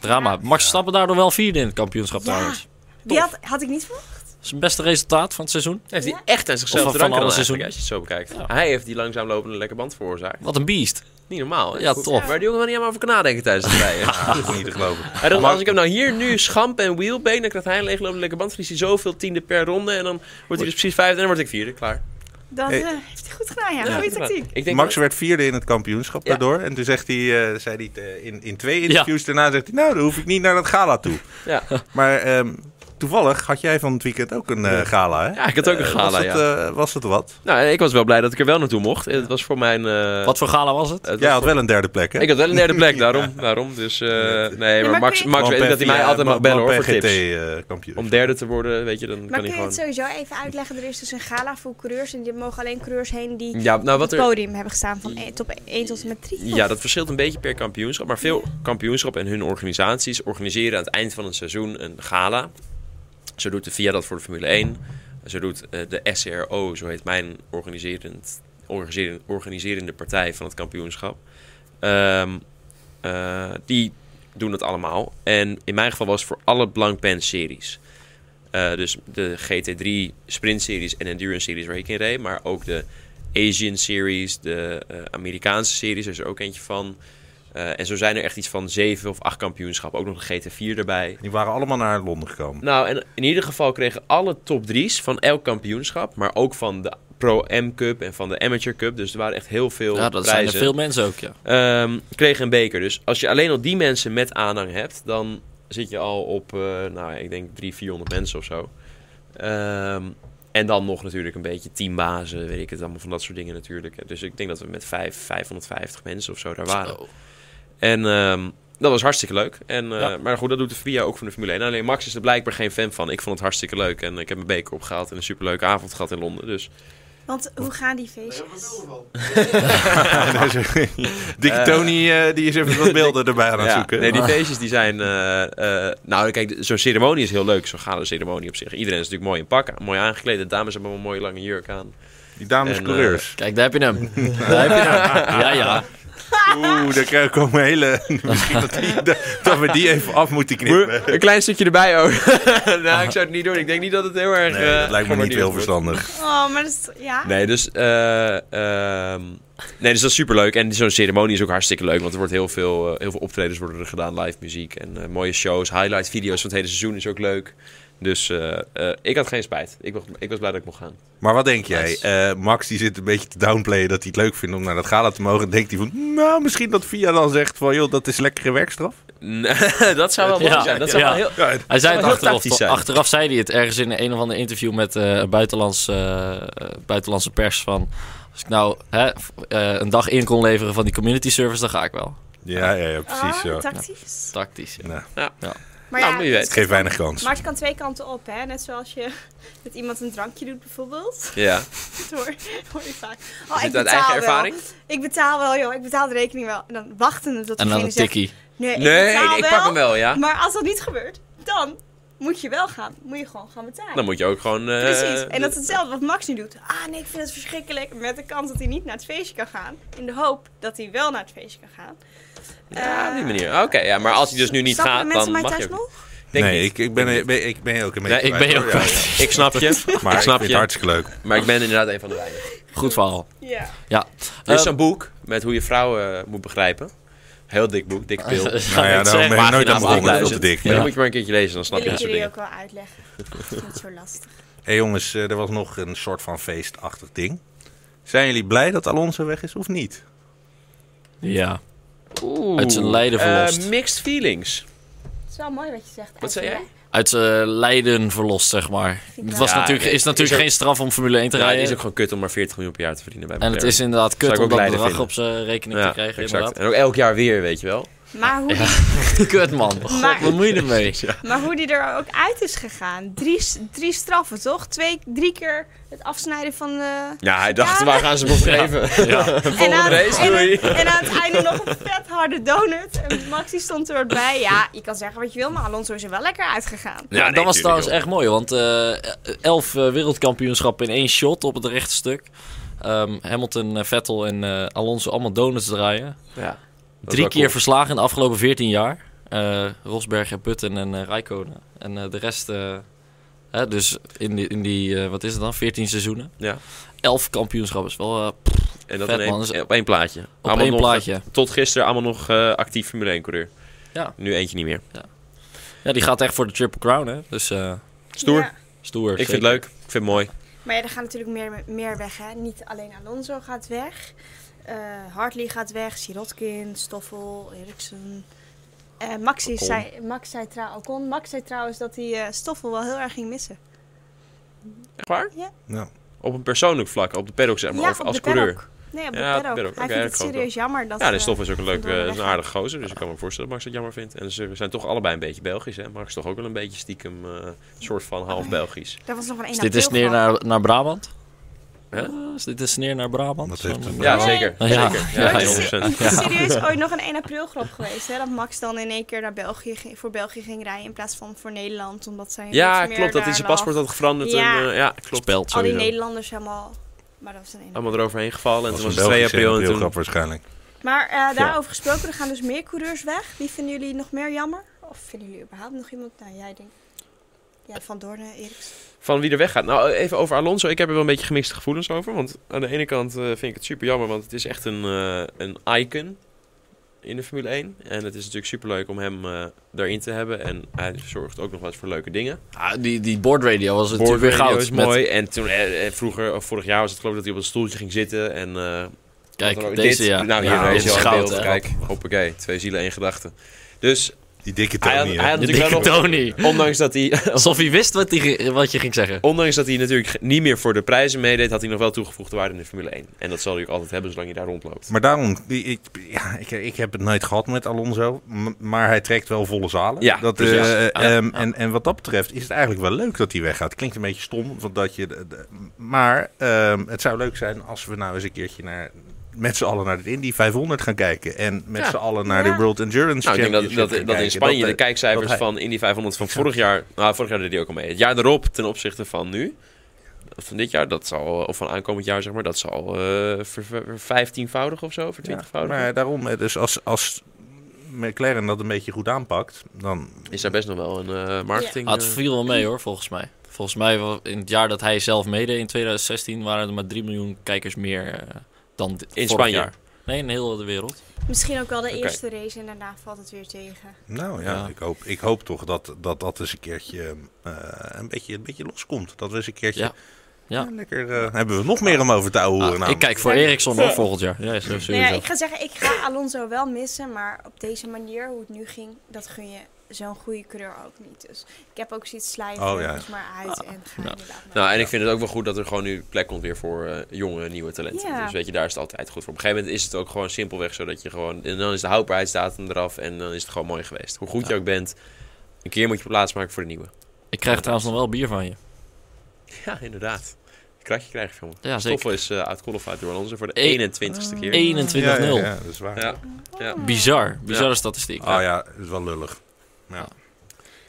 Speaker 3: Drama. Max Verstappen daardoor wel vierde in het kampioenschap
Speaker 4: Ja.
Speaker 3: trouwens.
Speaker 4: Die had, had ik niet verwacht.
Speaker 3: Dat is het beste resultaat van het seizoen.
Speaker 1: Heeft hij
Speaker 4: Ja.
Speaker 1: echt aan zichzelf
Speaker 3: Of
Speaker 1: te
Speaker 3: van
Speaker 1: danken dan
Speaker 3: alle
Speaker 1: eigenlijk, als je het zo bekijkt.
Speaker 3: Ja.
Speaker 1: Hij heeft die langzaam lopende lekke band veroorzaakt.
Speaker 3: Wat een beest.
Speaker 1: Niet normaal. hè?
Speaker 3: Ja,
Speaker 1: Goed.
Speaker 3: tof.
Speaker 1: Waar die jongen wel niet helemaal over kan nadenken tijdens het rijden.
Speaker 2: Ja, "Nou, dat is niet te geloven.
Speaker 1: Hij dacht, als ik hem nou hier nu schamp en wheelbeen, dan krijgt hij een leeglopende lekke band. Verliest hij zoveel tiende per ronde en dan wordt hij dus precies vijfde en dan word ik vierde. Klaar.
Speaker 4: Dat
Speaker 2: Hey.
Speaker 4: eh, heeft hij goed gedaan, ja. Goeie tactiek.
Speaker 1: Ik denk
Speaker 2: Max
Speaker 1: Max
Speaker 2: werd vierde in het kampioenschap
Speaker 1: Ja.
Speaker 2: daardoor. En toen zegt hij, eh, zei hij het, eh, in, in twee interviews daarna, zegt hij, nou, dan hoef ik niet naar dat gala toe.
Speaker 1: Ja.
Speaker 2: Maar ehm, toevallig had jij van het weekend ook een eh, gala, hè?
Speaker 1: ja, ik had ook een
Speaker 2: Eh,
Speaker 1: gala,
Speaker 2: was, het,
Speaker 1: ja.
Speaker 2: eh, was het wat?
Speaker 1: Nou, ik was wel blij dat ik er wel naartoe mocht. Het was voor mijn... eh,
Speaker 3: Wat voor gala was het?
Speaker 1: het was
Speaker 2: Jij
Speaker 1: voor-
Speaker 2: had wel een derde plek, hè?
Speaker 1: Ik had wel een derde plek, daarom. daarom dus, eh, nee, maar
Speaker 4: maar
Speaker 1: Max,
Speaker 4: kun je-
Speaker 1: Max weet dat hij mij altijd
Speaker 2: eh,
Speaker 1: mag bellen hoor, voor
Speaker 2: GT,
Speaker 1: tips.
Speaker 2: eh, kampioen.
Speaker 1: Om derde te worden, weet je, dan
Speaker 4: Maar
Speaker 1: kan
Speaker 4: kun
Speaker 1: hij
Speaker 4: je het
Speaker 1: gewoon...
Speaker 4: sowieso even uitleggen? Er is dus een gala voor coureurs en die mogen alleen coureurs heen die
Speaker 1: Ja, nou,
Speaker 4: op
Speaker 1: wat
Speaker 4: het
Speaker 1: er,
Speaker 4: podium hebben gestaan van één- top 1 tot en met 3.
Speaker 1: ja, dat verschilt een beetje per kampioenschap. Maar veel kampioenschappen en hun organisaties organiseren aan het eind van een seizoen een gala. Zo doet de VIA dat voor de Formule 1. Zo doet eh, de SRO, zo heet mijn organiserend, organiserende, organiserende partij van het kampioenschap. Ehm, eh, die doen dat allemaal. En in mijn geval was het voor alle Blank Pen series. Eh, dus de GT3 Sprint Series en Endurance Series waar ik in reed. Maar ook de Asian Series, de eh, Amerikaanse Series is er ook eentje van. Eh, en zo zijn er echt iets van zeven of acht kampioenschappen. Ook nog de GT4 erbij.
Speaker 2: Die waren allemaal naar Londen gekomen.
Speaker 1: Nou, en in ieder geval kregen alle top drie's van elk kampioenschap, maar ook van de Pro M Cup en van de Amateur Cup. Dus er waren echt heel veel
Speaker 3: Ja, dat zijn er
Speaker 1: prijzen.
Speaker 3: veel mensen ook, ja.
Speaker 1: Ehm, kregen een beker. Dus als je alleen al die mensen met aanhang hebt, dan zit je al op, eh, nou, ik denk 300, 400 mensen of zo. Ehm, en dan nog natuurlijk een beetje teambazen, weet ik het allemaal van dat soort dingen natuurlijk. Dus ik denk dat we met vijf, 550 mensen of zo daar waren.
Speaker 3: Oh.
Speaker 1: En ehm, dat was hartstikke leuk. En, eh,
Speaker 3: Ja.
Speaker 1: Maar goed, dat doet de FIA ook van de Formule 1. Alleen Max is er blijkbaar geen fan van. Ik vond het hartstikke leuk. En ik heb mijn beker opgehaald en een superleuke avond gehad in Londen. Dus
Speaker 4: Want hoe gaan die feestjes?
Speaker 2: Dikke Dus, eh, Tony eh, die is even wat beelden erbij aan het
Speaker 1: Ja,
Speaker 2: zoeken.
Speaker 1: Nee, die feestjes die zijn... eh, eh, nou, kijk, zo'n ceremonie is heel leuk. Zo'n gala ceremonie op zich. Iedereen is natuurlijk mooi in pak. Mooi aangekleed. De dames hebben een mooie lange jurk aan.
Speaker 2: Die dames
Speaker 1: En, eh,
Speaker 2: coureurs.
Speaker 3: Kijk, daar heb je hem. daar heb je hem. Ja, ja.
Speaker 2: Oeh, daar krijgen- komen hele... Misschien dat, die, dat we die even af moeten knippen.
Speaker 1: Een klein stukje erbij ook. nou, ik zou het niet doen. Ik denk niet dat het heel erg...
Speaker 2: Nee, dat
Speaker 1: eh,
Speaker 2: lijkt me niet
Speaker 1: gewaardeerd
Speaker 2: heel
Speaker 1: wordt.
Speaker 2: verstandig.
Speaker 4: Oh, maar dat is... Ja?
Speaker 1: Nee, dus, eh, ehm, nee, dus dat is superleuk. En zo'n ceremonie is ook hartstikke leuk. Want er wordt heel veel, eh, heel veel optredens worden er gedaan. Live muziek en eh, mooie shows. Highlight video's van het hele seizoen is ook leuk. Dus eh, eh, ik had geen spijt. Ik was, ik was blij dat ik mocht gaan.
Speaker 2: Maar wat denk jij?
Speaker 3: Nice.
Speaker 2: Eh, Max die zit een beetje te downplayen dat hij het leuk vindt om naar dat gala te mogen. Denkt hij van, nou misschien dat Via dan zegt van, joh, dat is lekkere werkstraf.
Speaker 1: Nee, dat zou wel mooi
Speaker 3: Ja,
Speaker 1: zijn. Dat zou
Speaker 3: ja.
Speaker 1: wel heel...
Speaker 2: Ja,
Speaker 3: Hij zei
Speaker 1: zou
Speaker 3: het
Speaker 1: heel
Speaker 3: achteraf.
Speaker 1: tactisch zijn.
Speaker 3: Achteraf zei hij het ergens in een of ander interview met eh, een buitenlands, eh, eh, buitenlandse pers van... Als ik nou hè, v- eh, een dag in kon leveren van die community service, dan ga ik wel.
Speaker 2: ja, ja, ja, precies.
Speaker 4: Ah,
Speaker 2: ja.
Speaker 4: tactisch.
Speaker 3: Tactisch. ja.
Speaker 2: Nou.
Speaker 1: Ja.
Speaker 3: Ja.
Speaker 4: Maar
Speaker 1: Nou,
Speaker 4: ja,
Speaker 1: wie weet.
Speaker 4: het-
Speaker 2: Het geeft weinig kans.
Speaker 4: Maar het kan twee kanten op, hè? Net zoals je met iemand een drankje doet, bijvoorbeeld.
Speaker 1: Ja.
Speaker 4: Dat hoor, hoor je vaak.
Speaker 1: Is
Speaker 4: Oh, ik
Speaker 1: dit uit
Speaker 4: betaal
Speaker 1: eigen
Speaker 4: wel.
Speaker 1: ervaring?
Speaker 4: Ik betaal wel, joh. Ik betaal de rekening wel. En dan wachten tot
Speaker 3: En dan
Speaker 4: diegene
Speaker 3: een
Speaker 4: zegt...
Speaker 3: tikkie.
Speaker 4: Nee, ik,
Speaker 1: Nee,
Speaker 4: betaal
Speaker 1: nee, ik pak hem wel, ja.
Speaker 4: Maar als dat niet gebeurt, dan moet je wel gaan. Moet je gewoon gaan betalen.
Speaker 1: Dan moet je ook gewoon... eh,
Speaker 4: Precies. En dat is
Speaker 1: de-
Speaker 4: hetzelfde wat Max nu doet. Ah, nee, ik vind het verschrikkelijk. Met de kans dat hij niet naar het feestje kan gaan. In de hoop dat hij wel naar het feestje kan gaan.
Speaker 1: Ja, op die
Speaker 4: Eh,
Speaker 1: manier. Oké, ja, maar als hij dus nu niet
Speaker 4: snappen
Speaker 1: gaat,
Speaker 4: mensen
Speaker 1: dan
Speaker 4: mij
Speaker 1: mag
Speaker 4: thuis
Speaker 1: je ook
Speaker 4: nog?
Speaker 1: niet. Denk
Speaker 2: Nee,
Speaker 1: niet.
Speaker 2: ik, ik, ben, ik, ben, ik ben ook een beetje...
Speaker 3: Ja, ik
Speaker 2: kwijt,
Speaker 3: ben
Speaker 2: hoor.
Speaker 3: ook
Speaker 2: Ja,
Speaker 3: kwijt.
Speaker 2: ja.
Speaker 1: Ik snap je,
Speaker 2: Maar
Speaker 1: ik snap
Speaker 2: vind
Speaker 1: je.
Speaker 2: het hartstikke leuk.
Speaker 1: maar ik ben inderdaad een van de weinigen.
Speaker 3: Goed verhaal.
Speaker 4: Ja.
Speaker 3: Ja.
Speaker 1: Er is
Speaker 3: Eh,
Speaker 1: zo'n boek met hoe je vrouwen eh, moet begrijpen. Heel dik boek, dikke pil. Maar
Speaker 3: ga
Speaker 2: Nou
Speaker 3: ik
Speaker 2: ja, daarom
Speaker 3: het
Speaker 2: ben
Speaker 3: zeggen.
Speaker 2: ik nooit aan
Speaker 1: pagina's
Speaker 2: begonnen. Dat is veel
Speaker 1: 8000.
Speaker 2: te dik.
Speaker 3: Ja.
Speaker 1: dan moet je maar een keertje lezen, dan snap
Speaker 4: Wil
Speaker 1: je
Speaker 4: ik
Speaker 1: dat soort
Speaker 4: jullie
Speaker 1: dingen.
Speaker 4: ook wel uitleggen. Niet zo lastig.
Speaker 2: Hé jongens, eh, er was nog een soort van feestachtig ding. Zijn jullie blij dat Alonso weg is of niet?
Speaker 3: Ja. Uit zijn lijden
Speaker 1: Eh,
Speaker 3: verlost.
Speaker 1: mixed feelings.
Speaker 4: Het is wel mooi wat je zegt.
Speaker 1: Wat zei jij?
Speaker 3: Uit zijn lijden verlost, zeg maar.
Speaker 4: Vind ik
Speaker 3: Het
Speaker 4: wel.
Speaker 3: was
Speaker 1: Ja,
Speaker 3: natuurlijk,
Speaker 1: nee,
Speaker 3: is natuurlijk
Speaker 1: is ook-
Speaker 3: geen straf om Formule 1 te
Speaker 1: Ja, het
Speaker 3: rijden.
Speaker 1: is ook gewoon kut om maar 40 miljoen per jaar te verdienen bij
Speaker 3: en het is inderdaad
Speaker 1: Zou
Speaker 3: kut
Speaker 1: ik
Speaker 3: om
Speaker 1: ook
Speaker 3: dat
Speaker 1: lijden
Speaker 3: bedrag
Speaker 1: vinden.
Speaker 3: op zijn rekening te krijgen,
Speaker 1: exact. En ook elk jaar weer, weet je wel.
Speaker 4: Maar hoe,
Speaker 3: inderdaad. Kut, man. God,
Speaker 4: Maar-
Speaker 3: wat moet je ermee?
Speaker 4: die, maar hoe die er ook uit is gegaan. Drie, s- drie straffen, toch? Twee, drie keer het afsnijden van eh, de...
Speaker 1: Ja, hij dacht, waar gaan ze me op geven?
Speaker 4: en, aan,
Speaker 1: race, doei.
Speaker 4: en, en aan het einde nog een vet harde donut. En Maxi stond er bij. Ja, je kan zeggen wat je wil, maar Alonso is er wel lekker uitgegaan.
Speaker 3: Ja,
Speaker 1: nee,
Speaker 3: dat
Speaker 1: tuurlijk,
Speaker 3: was trouwens
Speaker 1: joh.
Speaker 3: echt mooi, want eh, elf eh, wereldkampioenschappen in één shot op het rechte stuk. Ehm, Hamilton, eh, Vettel en eh, Alonso allemaal donuts draaien.
Speaker 1: Ja. Dat is
Speaker 3: Drie
Speaker 1: wel
Speaker 3: keer verslagen in de afgelopen 14 jaar. Eh, Rosberg, Putten en eh Rijkonen. En eh, de rest, eh, hè, dus in die, in die eh, wat is het dan, 14 seizoenen.
Speaker 1: Ja.
Speaker 3: Elf kampioenschappen, is wel eh,
Speaker 1: cool. En dat
Speaker 3: Vet,
Speaker 1: in één-
Speaker 3: man. Dat is-
Speaker 1: op één plaatje.
Speaker 3: op
Speaker 1: Allemaal
Speaker 3: één
Speaker 1: nog,
Speaker 3: plaatje.
Speaker 1: eh, Tot gisteren allemaal nog eh, actief Formule 1 coureur.
Speaker 3: Ja.
Speaker 1: Nu eentje niet meer.
Speaker 3: Ja, die gaat echt voor de Triple Crown, hè? Dus eh,
Speaker 1: Stoer.
Speaker 4: Ja.
Speaker 3: stoer.
Speaker 1: Ik vind het leuk. Ik vind het mooi.
Speaker 4: Maar ja, er gaan natuurlijk meer, meer weg, hè. Niet alleen Alonso gaat weg. Eh, Hartley gaat weg. Sirotkin, Stoffel, Eriksen. Eh, Maxi
Speaker 1: Ocon.
Speaker 4: zei, Max zei trouw, Ocon. Max zei trouwens dat hij eh, Stoffel wel heel erg ging missen.
Speaker 1: Echt waar?
Speaker 2: Nou,
Speaker 1: Op een persoonlijk vlak, op de paddock zeg maar, of
Speaker 4: op
Speaker 1: als
Speaker 4: de
Speaker 1: coureur.
Speaker 4: paddock. Nee, op de
Speaker 1: Ja,
Speaker 4: paddock.
Speaker 1: op de paddock.
Speaker 4: Hij
Speaker 1: Oké,
Speaker 4: vindt
Speaker 1: dat
Speaker 4: het
Speaker 1: geloof ik
Speaker 4: serieus jammer dat...
Speaker 1: Ja, de
Speaker 4: eh,
Speaker 1: Stoffel is ook een leuk,
Speaker 4: Vandoor
Speaker 1: eh, is een
Speaker 4: weg.
Speaker 1: aardige gozer, dus ik kan me voorstellen dat Max dat jammer vindt. En ze zijn toch allebei een beetje Belgisch, hè? Max is toch ook wel een beetje stiekem eh, soort van
Speaker 4: Oh.
Speaker 1: half Belgisch.
Speaker 4: daar was nog een
Speaker 3: Is
Speaker 4: 1
Speaker 3: Dus dit is neer naar, naar Brabant?
Speaker 1: Hè?
Speaker 3: Eh, Is dit een sneer naar Brabant?
Speaker 2: Wat heeft
Speaker 3: Zo'n-
Speaker 2: het-
Speaker 1: Ja,
Speaker 4: Nee.
Speaker 1: zeker.
Speaker 3: Ja.
Speaker 1: zeker.
Speaker 3: Ja,
Speaker 1: Ja,
Speaker 3: joh.
Speaker 1: 100%.
Speaker 4: Er is serieus ooit nog een 1 april grap geweest. Hè? Dat Max dan in één keer naar België ging, voor België ging rijden in plaats van voor Nederland. Omdat zijn
Speaker 1: ja
Speaker 4: iets meer
Speaker 1: klopt dat hij
Speaker 4: daar
Speaker 1: zijn
Speaker 4: lag.
Speaker 1: paspoort had veranderd.
Speaker 4: Ja.
Speaker 1: En, eh, ja, klopt.
Speaker 3: Speld,
Speaker 4: Al die
Speaker 3: sowieso.
Speaker 4: Nederlanders helemaal... Maar dat was een 1 april.
Speaker 1: Allemaal eroverheen gevallen en
Speaker 2: dat
Speaker 1: toen
Speaker 2: was
Speaker 1: was het 2 april en
Speaker 2: heel
Speaker 1: toen...
Speaker 2: grap waarschijnlijk.
Speaker 4: Maar eh, daarover gesproken, er gaan dus meer coureurs weg. Wie vinden jullie nog meer jammer? Of vinden jullie überhaupt nog iemand? Nou, jij denkt... Ja, Van Doorn, Eriks.
Speaker 1: Van wie er weggaat. Nou, even over Alonso. Ik heb er wel een beetje gemixte gevoelens over. Want aan de ene kant eh, vind ik het super jammer, want het is echt een, eh, een icon in de Formule 1. En het is natuurlijk super leuk om hem eh, daarin te hebben. En hij zorgt ook nog wel eens voor leuke dingen.
Speaker 3: Ah, die, die board radio was natuurlijk
Speaker 1: Boordradio
Speaker 3: weer goud.
Speaker 1: is
Speaker 3: Met-
Speaker 1: mooi. En toen eh, eh, vroeger, of vorig jaar was het geloof ik dat hij op een stoeltje ging zitten. En, eh, wat
Speaker 3: kijk,
Speaker 1: er-
Speaker 3: deze
Speaker 1: dit-
Speaker 3: ja.
Speaker 1: Nou, hier
Speaker 3: ja,
Speaker 1: deze is
Speaker 3: is
Speaker 1: al in
Speaker 3: goud,
Speaker 1: beeld.
Speaker 3: hè.
Speaker 1: Kijk, hoppakee. Twee zielen, één gedachte. Dus
Speaker 2: Die dikke
Speaker 1: Hij had-
Speaker 2: Tony,
Speaker 1: hij
Speaker 2: hè?
Speaker 1: had-
Speaker 3: De
Speaker 1: natuurlijk
Speaker 3: dikke
Speaker 1: wel
Speaker 3: Tony.
Speaker 1: ondanks dat hij,
Speaker 3: Alsof hij wist wat, die, ge- wat je ging zeggen.
Speaker 1: ondanks dat hij natuurlijk ge- niet meer voor de prijzen meedeed, had hij nog wel toegevoegde waarde in de Formule 1. En dat zal hij ook altijd hebben zolang hij daar rondloopt.
Speaker 2: Maar daarom, die- ik, ja, ik, ik heb het nooit gehad met Alonso, m- maar hij trekt wel volle zalen.
Speaker 1: Ja,
Speaker 2: dat,
Speaker 1: precies.
Speaker 2: eh,
Speaker 1: Ja,
Speaker 2: ehm, En, en wat dat betreft is het eigenlijk wel leuk dat hij weggaat. Klinkt een beetje stom, want dat je, de- de- maar ehm, het zou leuk zijn als we nou eens een keertje naar, met z'n allen naar de Indy 500 gaan kijken. En met
Speaker 1: Ja.
Speaker 2: z'n allen naar
Speaker 4: Ja.
Speaker 2: de World Endurance
Speaker 1: Nou, ik denk
Speaker 2: Championship
Speaker 1: dat, dat,
Speaker 2: gaan
Speaker 1: dat in
Speaker 2: kijken.
Speaker 1: Spanje
Speaker 2: Dat,
Speaker 1: de
Speaker 2: eh,
Speaker 1: kijkcijfers
Speaker 2: dat hij-
Speaker 1: van Indy 500 van vorig jaar... Nou, vorig jaar deed hij ook al mee. Het jaar erop ten opzichte van nu... Van dit jaar, dat zal, eh, of van aankomend jaar, zeg maar, dat zal eh ver, ver, vijftienvoudig of zo,
Speaker 2: Ja,
Speaker 1: vertwintigvoudig.
Speaker 2: maar daarom, eh, dus als, als McLaren dat een beetje goed aanpakt, dan...
Speaker 1: is daar best nog wel een eh, marketing...
Speaker 3: Ah, het
Speaker 1: eh,
Speaker 3: viel wel mee hoor, volgens mij. Volgens mij wa- in het jaar dat hij zelf meedeed, in 2016, waren er maar 3 miljoen kijkers meer eh, dan dit- vorig
Speaker 1: Spanje?
Speaker 3: jaar. Nee, in heel de wereld.
Speaker 4: Misschien ook wel de
Speaker 1: Oké.
Speaker 4: eerste race en daarna valt het weer tegen.
Speaker 2: Nou ja,
Speaker 3: Ja.
Speaker 2: Ik, hoop, ik hoop toch dat dat, dat eens een keertje eh, een, beetje, een beetje loskomt. Dat we eens een keertje
Speaker 3: Ja. Ja.
Speaker 2: eh, lekker... eh, hebben we nog meer om over te ouwen.
Speaker 3: Ah, ik kijk voor Ericsson hoor, volgend jaar. Ja, is
Speaker 4: Nou ja,
Speaker 3: sowieso.
Speaker 4: ik ga zeggen, ik ga Alonso wel missen. Maar op deze manier, hoe het nu ging, dat gun je zo'n goede coureur ook niet. Dus ik heb ook zoiets slijten,
Speaker 2: Oh, ja.
Speaker 4: dus maar uit en ga
Speaker 3: nou.
Speaker 4: inderdaad maar.
Speaker 1: Nou, en ik vind het ook wel goed dat er gewoon nu plek komt weer voor eh, jonge, nieuwe talenten.
Speaker 4: Ja.
Speaker 1: Dus weet je, daar is het altijd goed voor. Op een gegeven moment is het ook gewoon simpelweg zo dat je gewoon... En dan is de houdbaarheidsdatum eraf en dan is het gewoon mooi geweest. Hoe goed je ook bent, Een keer moet je plaats maken voor de nieuwe.
Speaker 3: Ik krijg trouwens nog wel bier van je.
Speaker 1: Ja, inderdaad. Een kratje krijg je van me.
Speaker 3: Ja, zeker.
Speaker 1: Stoffel is eh uit door Alonso voor de
Speaker 3: E-
Speaker 1: 21ste keer.
Speaker 3: 21-0.
Speaker 2: Ja, ja, ja, dat is waar.
Speaker 1: Ja, ja.
Speaker 3: Bizar. Bizarre statistiek.
Speaker 2: Oh ja, dat is wel lullig. Ja.
Speaker 3: Ja.